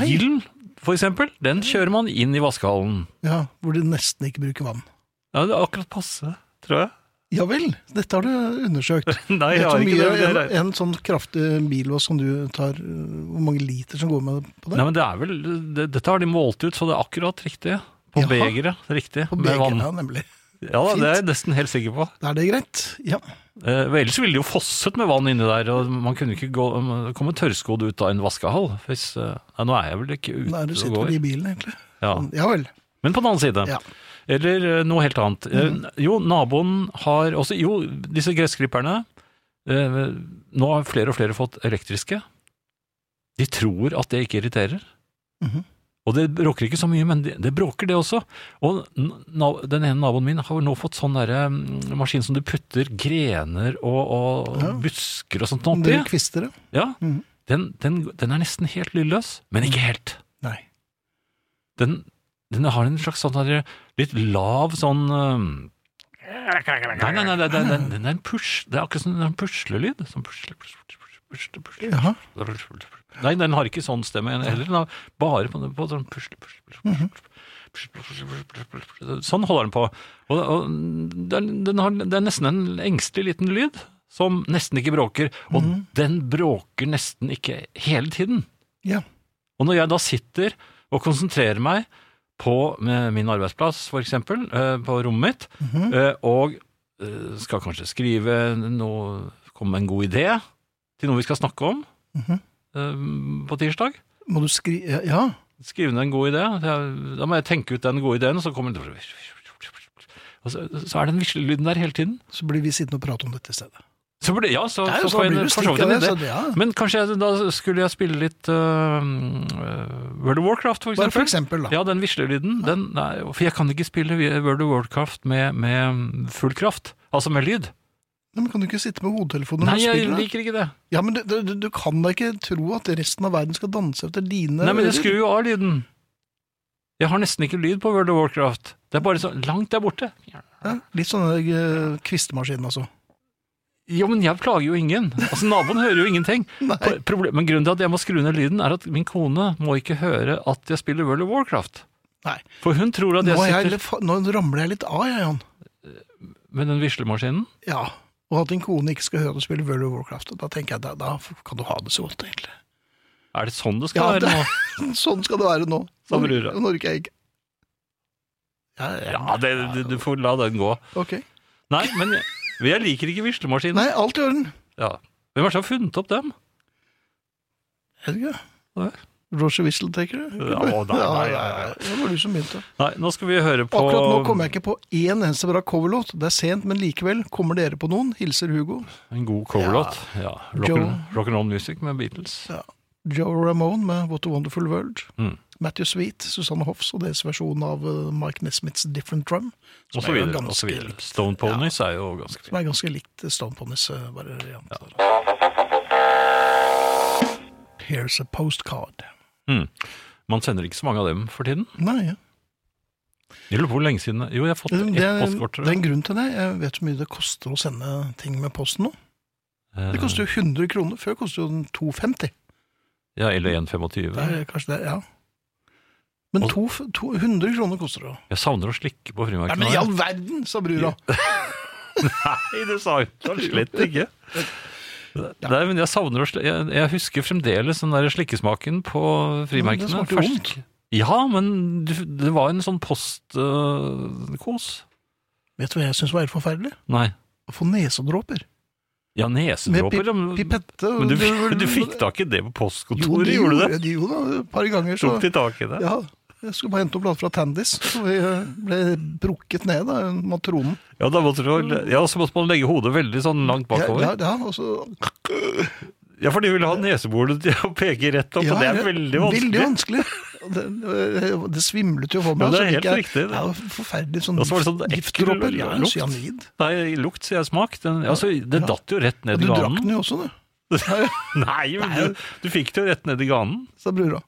[SPEAKER 3] Bilen, for eksempel, den kjører man inn i vaskehallen.
[SPEAKER 2] Ja, Hvor de nesten ikke bruker vann.
[SPEAKER 3] Ja, det er akkurat passe, tror jeg.
[SPEAKER 2] Ja vel, dette har du undersøkt.
[SPEAKER 3] Nei, jeg
[SPEAKER 2] Vet du
[SPEAKER 3] har
[SPEAKER 2] hvor
[SPEAKER 3] ikke
[SPEAKER 2] mye
[SPEAKER 3] det.
[SPEAKER 2] En,
[SPEAKER 3] Det er-
[SPEAKER 2] en sånn kraftig billås som du tar, øh, hvor mange liter som går med på det?
[SPEAKER 3] Nei, men det er vel, det, Dette har de målt ut, så det er akkurat riktig. På
[SPEAKER 2] Jaha.
[SPEAKER 3] begeret. Riktig.
[SPEAKER 2] på
[SPEAKER 3] med vann.
[SPEAKER 2] begeret, nemlig.
[SPEAKER 3] Ja, da, Det er jeg nesten helt sikker på.
[SPEAKER 2] Da er det greit. Ja.
[SPEAKER 3] Eh, vel, ellers ville det jo fosset med vann inni der, og man kunne ikke gå, man- komme tørrskodd ut av en vaskehall. Hvis, eh, ja, nå er jeg vel ikke
[SPEAKER 2] Da er du
[SPEAKER 3] ute og
[SPEAKER 2] sitter
[SPEAKER 3] går.
[SPEAKER 2] i bilen, egentlig.
[SPEAKER 3] Ja.
[SPEAKER 2] Ja vel.
[SPEAKER 3] Men på den annen side.
[SPEAKER 2] Ja. Mhm.
[SPEAKER 3] Eller eh, noe helt annet. Eh, Jo, naboen har også Jo, disse gressklipperne eh, Nå har flere og flere fått elektriske. De tror at det ikke irriterer.
[SPEAKER 2] Mhm.
[SPEAKER 3] Og det bråker ikke så mye, men det, det bråker det også. Og n- na- den ene naboen min har nå fått sånn derre mm, maskin som du putter grener og, og
[SPEAKER 2] Ja.
[SPEAKER 3] busker og sånt
[SPEAKER 2] Om du
[SPEAKER 3] oppi.
[SPEAKER 2] kvister det?
[SPEAKER 3] Ja.
[SPEAKER 2] Mhm.
[SPEAKER 3] Den, den, den er nesten helt lydløs, men ikke helt
[SPEAKER 2] Nei.
[SPEAKER 3] den, den har en slags sånn der, litt lav sånn um, Nei, nei, nei, den, den, den er en push. Det er akkurat som en puslelyd. Sånn pusle, pusle, pusle, pusle, pusle,
[SPEAKER 2] Jaha.
[SPEAKER 3] pusle, pusle. Nei, den har ikke sånn stemme heller. Den har bare på, på sånn pusle, pusle, pusle, pusle, pusle, pusle, pusle, pusle, pusle. Sånn holder den på. Og, og den, den har, det er nesten en engstelig liten lyd som nesten ikke bråker. Og den bråker nesten ikke hele tiden.
[SPEAKER 2] Ja.
[SPEAKER 3] Og når jeg da sitter og konsentrerer meg på eh, min arbeidsplass, for eksempel, eh, på rommet mitt,
[SPEAKER 2] Mhm.
[SPEAKER 3] eh, og eh, skal kanskje skrive noe, komme med en god idé til noe vi skal snakke om
[SPEAKER 2] Mhm.
[SPEAKER 3] eh, på tirsdag.
[SPEAKER 2] Må du skri... Ja.
[SPEAKER 3] Skrive ned en god idé. Jeg- Da må jeg tenke ut den gode ideen, og så kommer det og så, så er den vislelyden der hele tiden.
[SPEAKER 2] Så blir vi sittende og prate om dette i stedet.
[SPEAKER 3] Så, burde, ja, så,
[SPEAKER 2] Det er jo
[SPEAKER 3] så
[SPEAKER 2] sånn,
[SPEAKER 3] får jeg
[SPEAKER 2] blir
[SPEAKER 3] en-
[SPEAKER 2] du
[SPEAKER 3] for så vidt
[SPEAKER 2] stikk
[SPEAKER 3] en
[SPEAKER 2] av
[SPEAKER 3] idé.
[SPEAKER 2] det, så det- ja.
[SPEAKER 3] Men kanskje jeg, da skulle jeg spille litt eh, eh, World of Warcraft, for
[SPEAKER 2] Bare
[SPEAKER 3] eksempel.
[SPEAKER 2] for eksempel, da.
[SPEAKER 3] Ja, den vislelyden. Den, nei, for jeg kan ikke spille World of Warcraft med, med full kraft. Altså med lyd.
[SPEAKER 2] Nei, Men kan du ikke sitte med hodetelefoner
[SPEAKER 3] Nei,
[SPEAKER 2] og
[SPEAKER 3] jeg
[SPEAKER 2] spille? det?
[SPEAKER 3] liker ikke det.
[SPEAKER 2] Ja, men du, du, du kan da ikke tro at resten av verden skal danse etter dine
[SPEAKER 3] Nei, men jeg
[SPEAKER 2] ører?
[SPEAKER 3] skrur jo av lyden. Jeg har nesten ikke lyd på World of Warcraft. Det er bare så langt der borte.
[SPEAKER 2] Ja, litt sånne eh, kvistemaskinen, altså.
[SPEAKER 3] Jo, men jeg plager jo ingen. Altså, Naboen hører jo ingenting.
[SPEAKER 2] Nei.
[SPEAKER 3] Proble- men grunnen til at jeg må skru ned lyden, er at min kone må ikke høre at jeg spiller World of Warcraft.
[SPEAKER 2] Nei.
[SPEAKER 3] For hun tror at
[SPEAKER 2] Nå,
[SPEAKER 3] jeg
[SPEAKER 2] er jeg,
[SPEAKER 3] sitter
[SPEAKER 2] litt fa- nå ramler jeg litt av, jeg, Jan.
[SPEAKER 3] med den vislemaskinen.
[SPEAKER 2] Ja. Og at din kone ikke skal høre deg spille World of Warcraft. Da tenker jeg, da, da kan du ha det så godt, egentlig.
[SPEAKER 3] Er det sånn det skal
[SPEAKER 2] Ja,
[SPEAKER 3] være
[SPEAKER 2] det-
[SPEAKER 3] nå?
[SPEAKER 2] Sånn skal det være nå.
[SPEAKER 3] Sa brura.
[SPEAKER 2] Norge- Norge er ikke ja, ja,
[SPEAKER 3] Ja, det, du, du får la den gå.
[SPEAKER 2] Ok.
[SPEAKER 3] Nei, men jeg, jeg liker ikke vislemaskinen.
[SPEAKER 2] Nei, alt i orden.
[SPEAKER 3] Ja. Hvem er det som har funnet opp dem?
[SPEAKER 2] Er det ikke?
[SPEAKER 3] Nei.
[SPEAKER 2] Roger Whistle, tenker du?
[SPEAKER 3] Ja, å, nei, nei, nei, nei.
[SPEAKER 2] Det var du som begynte.
[SPEAKER 3] Nei, nå skal vi høre på
[SPEAKER 2] Akkurat nå kommer jeg ikke på én eneste bra coverlåt. Det er sent, men likevel. Kommer dere på noen? Hilser Hugo.
[SPEAKER 3] en god coverlåt. Ja.
[SPEAKER 2] Joe.
[SPEAKER 3] Rock'n'roll rock and roll music med Beatles.
[SPEAKER 2] Ja. Joe Ramone med What a Wonderful World.
[SPEAKER 3] Mm.
[SPEAKER 2] Matthew Sweet, Susanne Hoffs og deres versjon av eh, Mike Nesmiths Different Drum.
[SPEAKER 3] Og
[SPEAKER 2] er
[SPEAKER 3] så
[SPEAKER 2] jo
[SPEAKER 3] videre.
[SPEAKER 2] ganske
[SPEAKER 3] Og så videre.
[SPEAKER 2] likt.
[SPEAKER 3] Stone Ponies er jo ganske fint.
[SPEAKER 2] Som er ganske likt Stone Ponies eh, variant. Here's a postcard.
[SPEAKER 3] Mm. Man sender ikke så mange av dem for tiden.
[SPEAKER 2] Nei, ja.
[SPEAKER 3] Jeg lurer på hvor lenge siden Jo, jeg har fått
[SPEAKER 2] det,
[SPEAKER 3] ett
[SPEAKER 2] det, er-
[SPEAKER 3] postkort. tror
[SPEAKER 2] det er
[SPEAKER 3] jeg.
[SPEAKER 2] en grunn til det. Jeg vet hvor mye det koster å sende ting med posten nå. Det
[SPEAKER 3] Eh,
[SPEAKER 2] koster jo 100 kroner. Før kostet jo den 250.
[SPEAKER 3] Ja, eller 1,25.
[SPEAKER 2] Det er kanskje det, ja. Men
[SPEAKER 3] Og-
[SPEAKER 2] to, to, 100 kroner koster det.
[SPEAKER 3] Jeg savner å slikke på
[SPEAKER 2] Nei,
[SPEAKER 3] frimerkene.
[SPEAKER 2] men i all verden, sa brura.
[SPEAKER 3] Nei, det sa hun da slett ikke. Nei, men jeg savner å sli... Jeg, jeg husker fremdeles den der slikkesmaken på
[SPEAKER 2] Ja, men
[SPEAKER 3] frimerkene.
[SPEAKER 2] det smakte
[SPEAKER 3] Først-
[SPEAKER 2] vondt.
[SPEAKER 3] Ja, men du- det var en sånn postkos.
[SPEAKER 2] Vet du hva jeg syns var helt forferdelig?
[SPEAKER 3] Nei.
[SPEAKER 2] Å få nesedråper.
[SPEAKER 3] Ja,
[SPEAKER 2] Med
[SPEAKER 3] nesedråper.
[SPEAKER 2] pip
[SPEAKER 3] ja, men-
[SPEAKER 2] pipette. og-
[SPEAKER 3] Men du, du fikk da ikke det på
[SPEAKER 2] Jo,
[SPEAKER 3] postkontoret,
[SPEAKER 2] de
[SPEAKER 3] gjorde du det?
[SPEAKER 2] Jo da, et par ganger. Så,
[SPEAKER 3] Tok de tak i det?
[SPEAKER 2] ja, jeg skulle bare hente opp blad fra Tandis, så vi eh, ble brukket ned av en matronen.
[SPEAKER 3] Ja, da måtte du, ja, så måtte man legge hodet veldig sånn langt
[SPEAKER 2] Ja,
[SPEAKER 3] bakover.
[SPEAKER 2] ja, ja, og så,
[SPEAKER 3] Ja, for de ville ha neseboret til å peke rett opp,
[SPEAKER 2] ja,
[SPEAKER 3] og det er veldig vanskelig.
[SPEAKER 2] Veldig vanskelig. Og Det, eh, det svimlet jo for meg.
[SPEAKER 3] Ja, det er
[SPEAKER 2] så fikk
[SPEAKER 3] helt
[SPEAKER 2] jeg-
[SPEAKER 3] riktig, det.
[SPEAKER 2] Ja, det var forferdelig sånn,
[SPEAKER 3] Og så var det sånn ekkel
[SPEAKER 2] giftdråper. Ja,
[SPEAKER 3] lukt.
[SPEAKER 2] cyanid.
[SPEAKER 3] Nei, lukt sier jeg smak. Den, altså, det
[SPEAKER 2] Ja.
[SPEAKER 3] datt jo rett
[SPEAKER 2] Ja,
[SPEAKER 3] ned
[SPEAKER 2] du
[SPEAKER 3] i
[SPEAKER 2] drakk
[SPEAKER 3] ganen.
[SPEAKER 2] den jo også, du,
[SPEAKER 3] Nei, men du, du fikk det jo rett ned i ganen.
[SPEAKER 2] sa brura.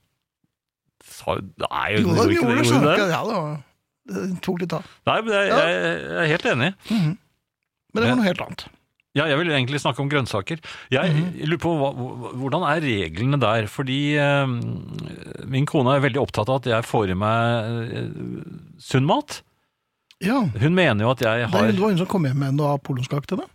[SPEAKER 3] Sa- Nei, hun
[SPEAKER 2] Jo da, den
[SPEAKER 3] gjorde ikke
[SPEAKER 2] gjorde
[SPEAKER 3] det.
[SPEAKER 2] det.
[SPEAKER 3] Gjorde hun
[SPEAKER 2] skjønner
[SPEAKER 3] det?
[SPEAKER 2] du. Ja, det var- det tok litt av.
[SPEAKER 3] Nei, men jeg,
[SPEAKER 2] Ja.
[SPEAKER 3] jeg, jeg er helt enig.
[SPEAKER 2] Mhm. Men det var
[SPEAKER 3] Men-
[SPEAKER 2] noe helt annet.
[SPEAKER 3] Ja, jeg vil egentlig snakke om grønnsaker. Jeg
[SPEAKER 2] Mhm.
[SPEAKER 3] lurer på hva, hva- hvordan er reglene der? Fordi ehm, eh, min kone er veldig opptatt av at jeg får i meg eh, sunn mat.
[SPEAKER 2] Ja.
[SPEAKER 3] Hun mener jo at jeg
[SPEAKER 2] Det er-
[SPEAKER 3] har
[SPEAKER 2] det var hun som kom hjem med noe av polonskake til deg.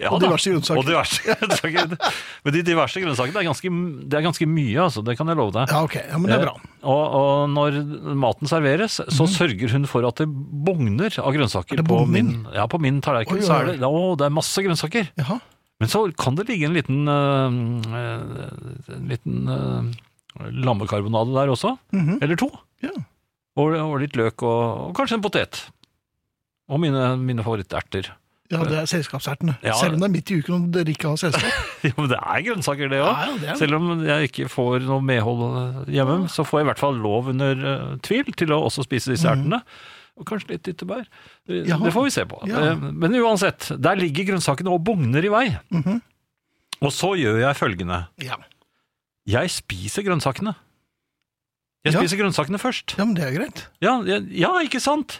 [SPEAKER 3] Ja
[SPEAKER 2] Og
[SPEAKER 3] da.
[SPEAKER 2] diverse grønnsaker.
[SPEAKER 3] Og diverse grønnsaker. Men de diverse grønnsakene, det er ganske, det er ganske mye, altså. Det kan jeg love deg.
[SPEAKER 2] Ja, ok. Ja, men det er bra. Mhm.
[SPEAKER 3] Eh, Og, og når maten serveres, så sørger hun for at det bugner av grønnsaker
[SPEAKER 2] Er det
[SPEAKER 3] på min,
[SPEAKER 2] bugning?
[SPEAKER 3] ja, på min tallerken.
[SPEAKER 2] Oi,
[SPEAKER 3] så
[SPEAKER 2] oi,
[SPEAKER 3] er det, å, det er masse grønnsaker.
[SPEAKER 2] Jaha.
[SPEAKER 3] Men så kan det ligge en liten, eh, eh, en liten eh, lammekarbonade der også.
[SPEAKER 2] Mhm.
[SPEAKER 3] Eller to.
[SPEAKER 2] Ja.
[SPEAKER 3] Og, og litt løk, og, og kanskje en potet. Og mine, mine favoritterter.
[SPEAKER 2] ja, det er selskapsertene.
[SPEAKER 3] Ja.
[SPEAKER 2] Selv om det er midt i uken og dere ikke har selskap.
[SPEAKER 3] Jo, men det er grønnsaker, det òg.
[SPEAKER 2] Ja, ja, det er det.
[SPEAKER 3] Selv om jeg ikke får noe medhold eh, hjemme, så får jeg i hvert fall lov under eh, tvil til å også spise
[SPEAKER 2] Mhm.
[SPEAKER 3] disse ertene. Og kanskje litt dyttebær. Eh,
[SPEAKER 2] Ja.
[SPEAKER 3] Det får vi se på.
[SPEAKER 2] Ja.
[SPEAKER 3] Eh, Men uansett, der ligger grønnsakene og bugner i vei.
[SPEAKER 2] Mhm.
[SPEAKER 3] Og så gjør jeg følgende.
[SPEAKER 2] Ja.
[SPEAKER 3] Jeg spiser grønnsakene. Jeg
[SPEAKER 2] Ja.
[SPEAKER 3] spiser grønnsakene først.
[SPEAKER 2] ja, men det er greit.
[SPEAKER 3] Ja, ja, ja, ikke sant?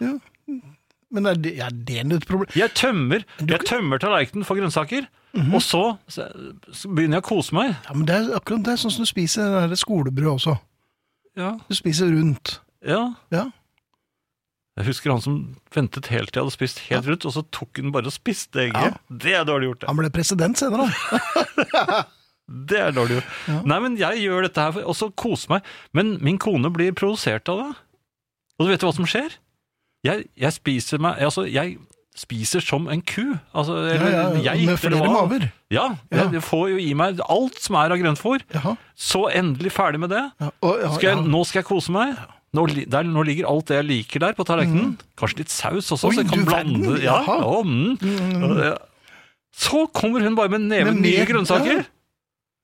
[SPEAKER 2] Men er det, er det et problem?
[SPEAKER 3] Jeg tømmer, jeg tømmer tallerkenen for grønnsaker, og så, så begynner jeg å kose meg.
[SPEAKER 2] Ja, men det er akkurat det er sånn som du spiser det der skolebrød også.
[SPEAKER 3] Ja,
[SPEAKER 2] Du spiser rundt.
[SPEAKER 3] ja.
[SPEAKER 2] Ja.
[SPEAKER 3] Jeg husker han som ventet helt til jeg hadde spist helt rundt, og så tok hun bare og spiste egget. Det er dårlig gjort. det.
[SPEAKER 2] Han ble president senere.
[SPEAKER 3] Det er dårlig gjort. Nei, men jeg gjør dette her, for- og så koser meg. Men min kone blir provosert av det. Og du vet hva som skjer? Jeg, jeg spiser meg Altså, jeg spiser som en ku. Altså, eller
[SPEAKER 2] Ja, ja,
[SPEAKER 3] jeg,
[SPEAKER 2] med
[SPEAKER 3] eller
[SPEAKER 2] flere
[SPEAKER 3] hva.
[SPEAKER 2] maver.
[SPEAKER 3] Ja.
[SPEAKER 2] Ja.
[SPEAKER 3] Jeg, jeg får jo i meg alt som er av grøntfôr.
[SPEAKER 2] Jaha.
[SPEAKER 3] Så endelig ferdig med det.
[SPEAKER 2] Ja, og, ja,
[SPEAKER 3] Skal jeg,
[SPEAKER 2] ja.
[SPEAKER 3] nå skal jeg kose meg. Nå, li- der, nå ligger alt det jeg liker der på tallerkenen. Kanskje litt saus
[SPEAKER 2] Mm.
[SPEAKER 3] også,
[SPEAKER 2] Oi,
[SPEAKER 3] så jeg kan
[SPEAKER 2] du verden,
[SPEAKER 3] blande. Ja,
[SPEAKER 2] jaha.
[SPEAKER 3] ja, mm. Ja, ja. Så kommer hun bare med neven
[SPEAKER 2] Med
[SPEAKER 3] nye
[SPEAKER 2] mer-
[SPEAKER 3] grønnsaker.
[SPEAKER 2] ja.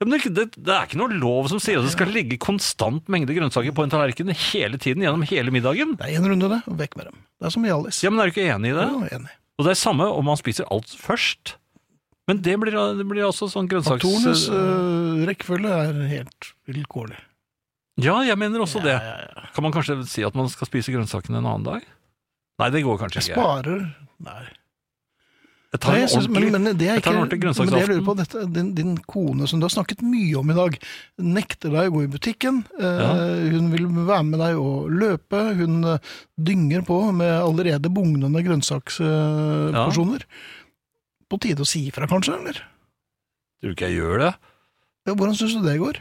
[SPEAKER 3] Ja, men det, er ikke- det, det er ikke noe lov som sier at det skal ligge konstant mengde grønnsaker på en tallerken hele tiden gjennom hele middagen.
[SPEAKER 2] Det er én runde, det. Og vekk med dem. Det er som i Alice.
[SPEAKER 3] Ja, men Er du ikke enig i det?
[SPEAKER 2] Ja, enig.
[SPEAKER 3] Og det er samme om man spiser alt først. Men det blir, det blir også sånn grønnsaks...
[SPEAKER 2] Faktorenes øh, rekkefølge er helt vilkårlig.
[SPEAKER 3] Ja, jeg mener også det.
[SPEAKER 2] Ja, ja, ja.
[SPEAKER 3] Kan man kanskje si at man skal spise grønnsakene en annen dag? Nei, det går kanskje
[SPEAKER 2] Jeg
[SPEAKER 3] ikke.
[SPEAKER 2] sparer Nei.
[SPEAKER 3] Jeg tar
[SPEAKER 2] Nei,
[SPEAKER 3] en
[SPEAKER 2] jeg synes-
[SPEAKER 3] ordentlig-
[SPEAKER 2] men, men det er
[SPEAKER 3] jeg tar
[SPEAKER 2] ikke,
[SPEAKER 3] en ordentlig
[SPEAKER 2] men det jeg lurer
[SPEAKER 3] grønnsaksaften.
[SPEAKER 2] på, dette, din, din kone som du har snakket mye om i dag, nekter deg å gå i butikken. Eh, Hun vil være med deg og løpe. Hun eh, dynger på med allerede bugnende
[SPEAKER 3] Ja.
[SPEAKER 2] grønnsaksporsjoner. På tide å si ifra, kanskje? eller?
[SPEAKER 3] Tror du ikke jeg gjør det?
[SPEAKER 2] Ja, hvordan syns du det går?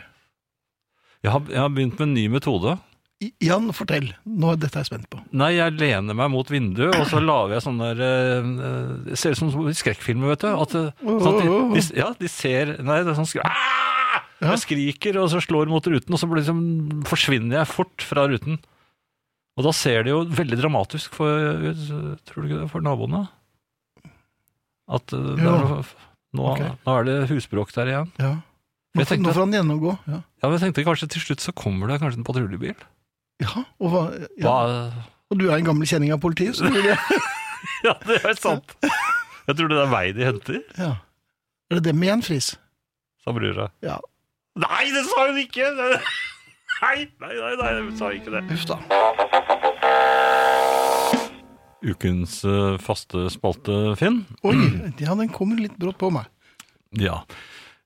[SPEAKER 3] Jeg har, jeg har begynt med en ny metode.
[SPEAKER 2] I- Jan, fortell. Nå er dette jeg spent på.
[SPEAKER 3] Nei, jeg lener meg mot vinduet, og så lager jeg sånn der eh, eh, Det ser ut som som i skrekkfilmer, vet du. At, eh, sånn at de, de, ja, de ser Nei, det er sånn skri- Ah!
[SPEAKER 2] Ja.
[SPEAKER 3] Jeg skriker, og så slår mot ruten, og så blir det liksom, forsvinner jeg fort fra ruten. Og da ser det jo veldig dramatisk for eh, Tror du ikke det? For naboene. At eh, det er,
[SPEAKER 2] Jo.
[SPEAKER 3] noe- nå,
[SPEAKER 2] Ok.
[SPEAKER 3] nå er det husbråk der igjen.
[SPEAKER 2] Ja. Nå,
[SPEAKER 3] Jeg tenkte-
[SPEAKER 2] nå får han gjennomgå. Ja.
[SPEAKER 3] Ja, men jeg tenkte kanskje til slutt så kommer det kanskje en patruljebil.
[SPEAKER 2] Ja, og, hva, ja.
[SPEAKER 3] Hva-
[SPEAKER 2] og du er en gammel kjenning av politiet, så du vil det.
[SPEAKER 3] Ja, det er sant. Jeg tror det er vei de henter,
[SPEAKER 2] Ja. Er det dem igjen, Friis?
[SPEAKER 3] sa brura.
[SPEAKER 2] Ja.
[SPEAKER 3] Nei, det sa hun ikke! Nei, nei, nei, nei hun sa ikke det.
[SPEAKER 2] Huff da.
[SPEAKER 3] Ukens eh, faste spalte, Finn.
[SPEAKER 2] Oi, ja, den kommer litt brått på meg.
[SPEAKER 3] Ja.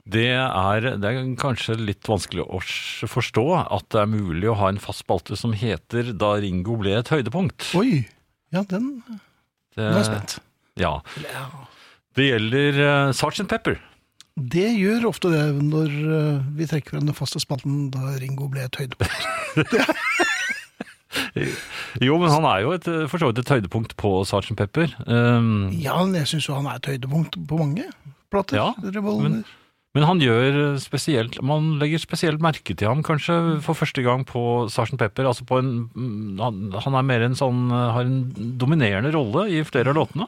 [SPEAKER 3] Det er, det er kanskje litt vanskelig å s- forstå at det er mulig å ha en fast spalte som heter 'Da Ringo ble et høydepunkt'.
[SPEAKER 2] Oi, ja, den
[SPEAKER 3] Det,
[SPEAKER 2] Nå er jeg spent.
[SPEAKER 3] Eh. ja.
[SPEAKER 2] Eller, ja.
[SPEAKER 3] det gjelder uh, Sergeant Pepper.
[SPEAKER 2] Det gjør ofte det når eh, vi trekker frem den faste spalten da Ringo ble et høydepunkt.
[SPEAKER 3] Jo, men han er jo et, eh, for så vidt et høydepunkt på Sergeant Pepper. Um,
[SPEAKER 2] Ja, men jeg syns jo han er et høydepunkt på mange plater.
[SPEAKER 3] Ja,
[SPEAKER 2] revolver.
[SPEAKER 3] men- Men han gjør spesielt Man legger spesielt merke til ham, kanskje, for første gang på Sarsen Pepper. Altså på en mm, Han, han er mer en sånn Har en dominerende rolle i flere av låtene.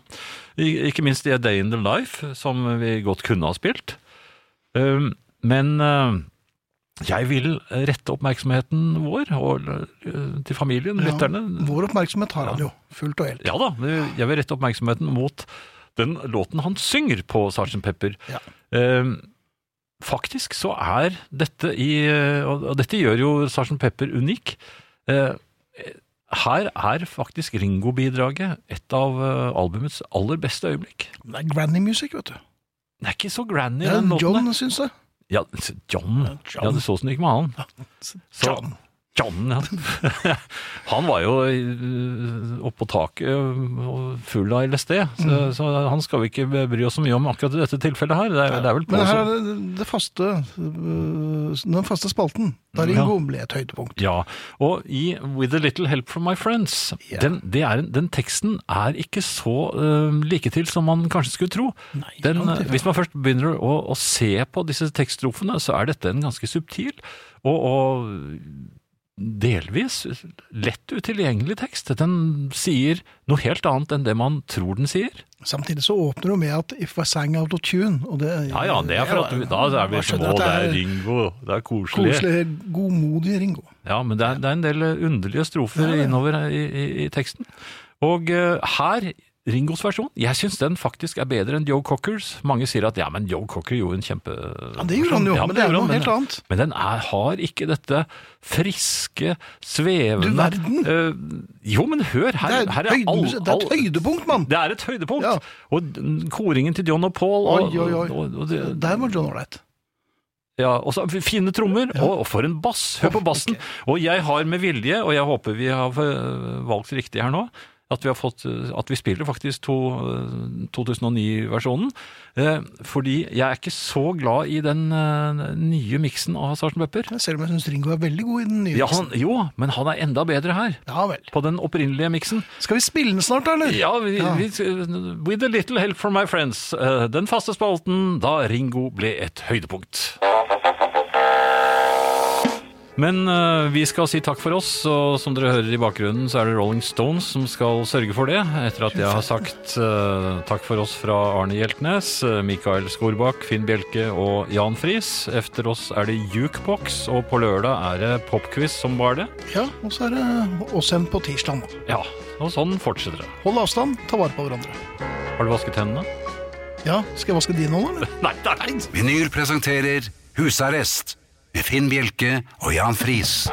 [SPEAKER 3] I- Ikke minst i A Day In The Life, som vi godt kunne ha spilt. Um, Men eh, jeg vil rette oppmerksomheten vår og eh, til familien,
[SPEAKER 2] Ja,
[SPEAKER 3] lytterne,
[SPEAKER 2] Vår oppmerksomhet har han jo, fullt og helt.
[SPEAKER 3] ja da, men jeg vil rette oppmerksomheten mot den låten han synger på Sgt. Pepper.
[SPEAKER 2] Ja.
[SPEAKER 3] Eh, faktisk så er dette i Og og dette gjør jo Sgt. Pepper unik. Eh, her er faktisk Ringo-bidraget et av eh, albumets aller beste øyeblikk.
[SPEAKER 2] Men Det er granny music, vet du.
[SPEAKER 3] Det er ikke så granny,
[SPEAKER 2] Ja,
[SPEAKER 3] den låten.
[SPEAKER 2] John
[SPEAKER 3] der.
[SPEAKER 2] syns det.
[SPEAKER 3] Ja, John.
[SPEAKER 2] John.
[SPEAKER 3] Ja, det så sånn gikk med han. Så-
[SPEAKER 2] John.
[SPEAKER 3] John, ja. Han var jo eh, oppå taket og full av LSD, så,
[SPEAKER 2] Mm.
[SPEAKER 3] så han skal vi ikke bry oss så mye om akkurat i dette tilfellet her. Det er, det er vel på
[SPEAKER 2] Men her
[SPEAKER 3] som-
[SPEAKER 2] er det, det faste, øh, den faste spalten. Der
[SPEAKER 3] Ja.
[SPEAKER 2] Ingo ble et høydepunkt.
[SPEAKER 3] Ja, og i With a Little Help From My Friends,
[SPEAKER 2] Ja.
[SPEAKER 3] den, det er, en- den teksten er ikke så eh, like til som man kanskje skulle tro. den,
[SPEAKER 2] langt
[SPEAKER 3] eh,
[SPEAKER 2] ifra.
[SPEAKER 3] hvis man først begynner å, å se på disse tekststrofene, så er dette en ganske subtil og, og delvis lett utilgjengelig tekst. Den sier noe helt annet enn det man tror den sier.
[SPEAKER 2] Samtidig så åpner hun med at If I sang out of tune. Og det,
[SPEAKER 3] Ja, ja, det er for at du, da er vi
[SPEAKER 2] Jeg skjønner
[SPEAKER 3] små, det
[SPEAKER 2] at
[SPEAKER 3] er Ringo, det er koselig.
[SPEAKER 2] Koselig, godmodig Ringo.
[SPEAKER 3] Ja, men det er, det er en del underlige strofer
[SPEAKER 2] Ja, ja.
[SPEAKER 3] innover i, i, i teksten. Og eh, her, Ringos versjon, jeg syns den faktisk er bedre enn Joe Cockers. Mange sier at ja, men Joe Cocker gjorde en kjempe...
[SPEAKER 2] Ja, det gjorde han jo,
[SPEAKER 3] Ja,
[SPEAKER 2] men det er
[SPEAKER 3] gjorde
[SPEAKER 2] noe
[SPEAKER 3] han,
[SPEAKER 2] helt annet.
[SPEAKER 3] Men den er, har ikke dette friske, svevende
[SPEAKER 2] Du verden.
[SPEAKER 3] Eh, jo, men hør, her
[SPEAKER 2] Det er,
[SPEAKER 3] her er,
[SPEAKER 2] høyde,
[SPEAKER 3] all,
[SPEAKER 2] det er et
[SPEAKER 3] all,
[SPEAKER 2] høydepunkt, mann!
[SPEAKER 3] det er et høydepunkt!
[SPEAKER 2] Ja.
[SPEAKER 3] Og den- koringen til John og Paul og,
[SPEAKER 2] Oi, oi, oi.
[SPEAKER 3] Og, og det,
[SPEAKER 2] Der var John Ålreit.
[SPEAKER 3] ja, og så Fine trommer, og, og for en bass! Hør på bassen. Og jeg har med vilje, og jeg håper vi har øh, valgt riktig her nå, at vi, har fått, øh, at vi spiller faktisk to, øh, 2009-versjonen. Eh, fordi jeg er ikke så glad i den øh, nye miksen av Sarsen Pepper.
[SPEAKER 2] Selv om jeg syns Ringo er veldig god i den nye.
[SPEAKER 3] Ja,
[SPEAKER 2] teksten.
[SPEAKER 3] han, jo, men han er enda bedre her.
[SPEAKER 2] ja vel.
[SPEAKER 3] På den opprinnelige miksen.
[SPEAKER 2] Skal vi spille den snart, eller?
[SPEAKER 3] Ja, vi,
[SPEAKER 2] Ja.
[SPEAKER 3] vi, With a little help from my friends. eh, Den faste spalten da Ringo ble et høydepunkt. Men eh, vi skal si takk for oss, og som dere hører i bakgrunnen, så er det Rolling Stones som skal sørge for det. Etter at jeg har sagt eh, takk for oss fra Arne Hjeltnes, eh, Mikael Skorbakk, Finn Bjelke og Jan Friis. Efter oss er det Jukebox, og på lørdag er det popquiz som bare det.
[SPEAKER 2] Ja, og så er det oss igjen på tirsdag. nå.
[SPEAKER 3] Ja, og sånn fortsetter det.
[SPEAKER 2] Hold avstand, ta vare på hverandre.
[SPEAKER 3] Har du vasket hendene?
[SPEAKER 2] Ja, skal jeg vaske dine nå, eller?
[SPEAKER 3] Nei, nei.
[SPEAKER 1] Vinyl presenterer Husarrest med Finn Bjelke og Jan Friis.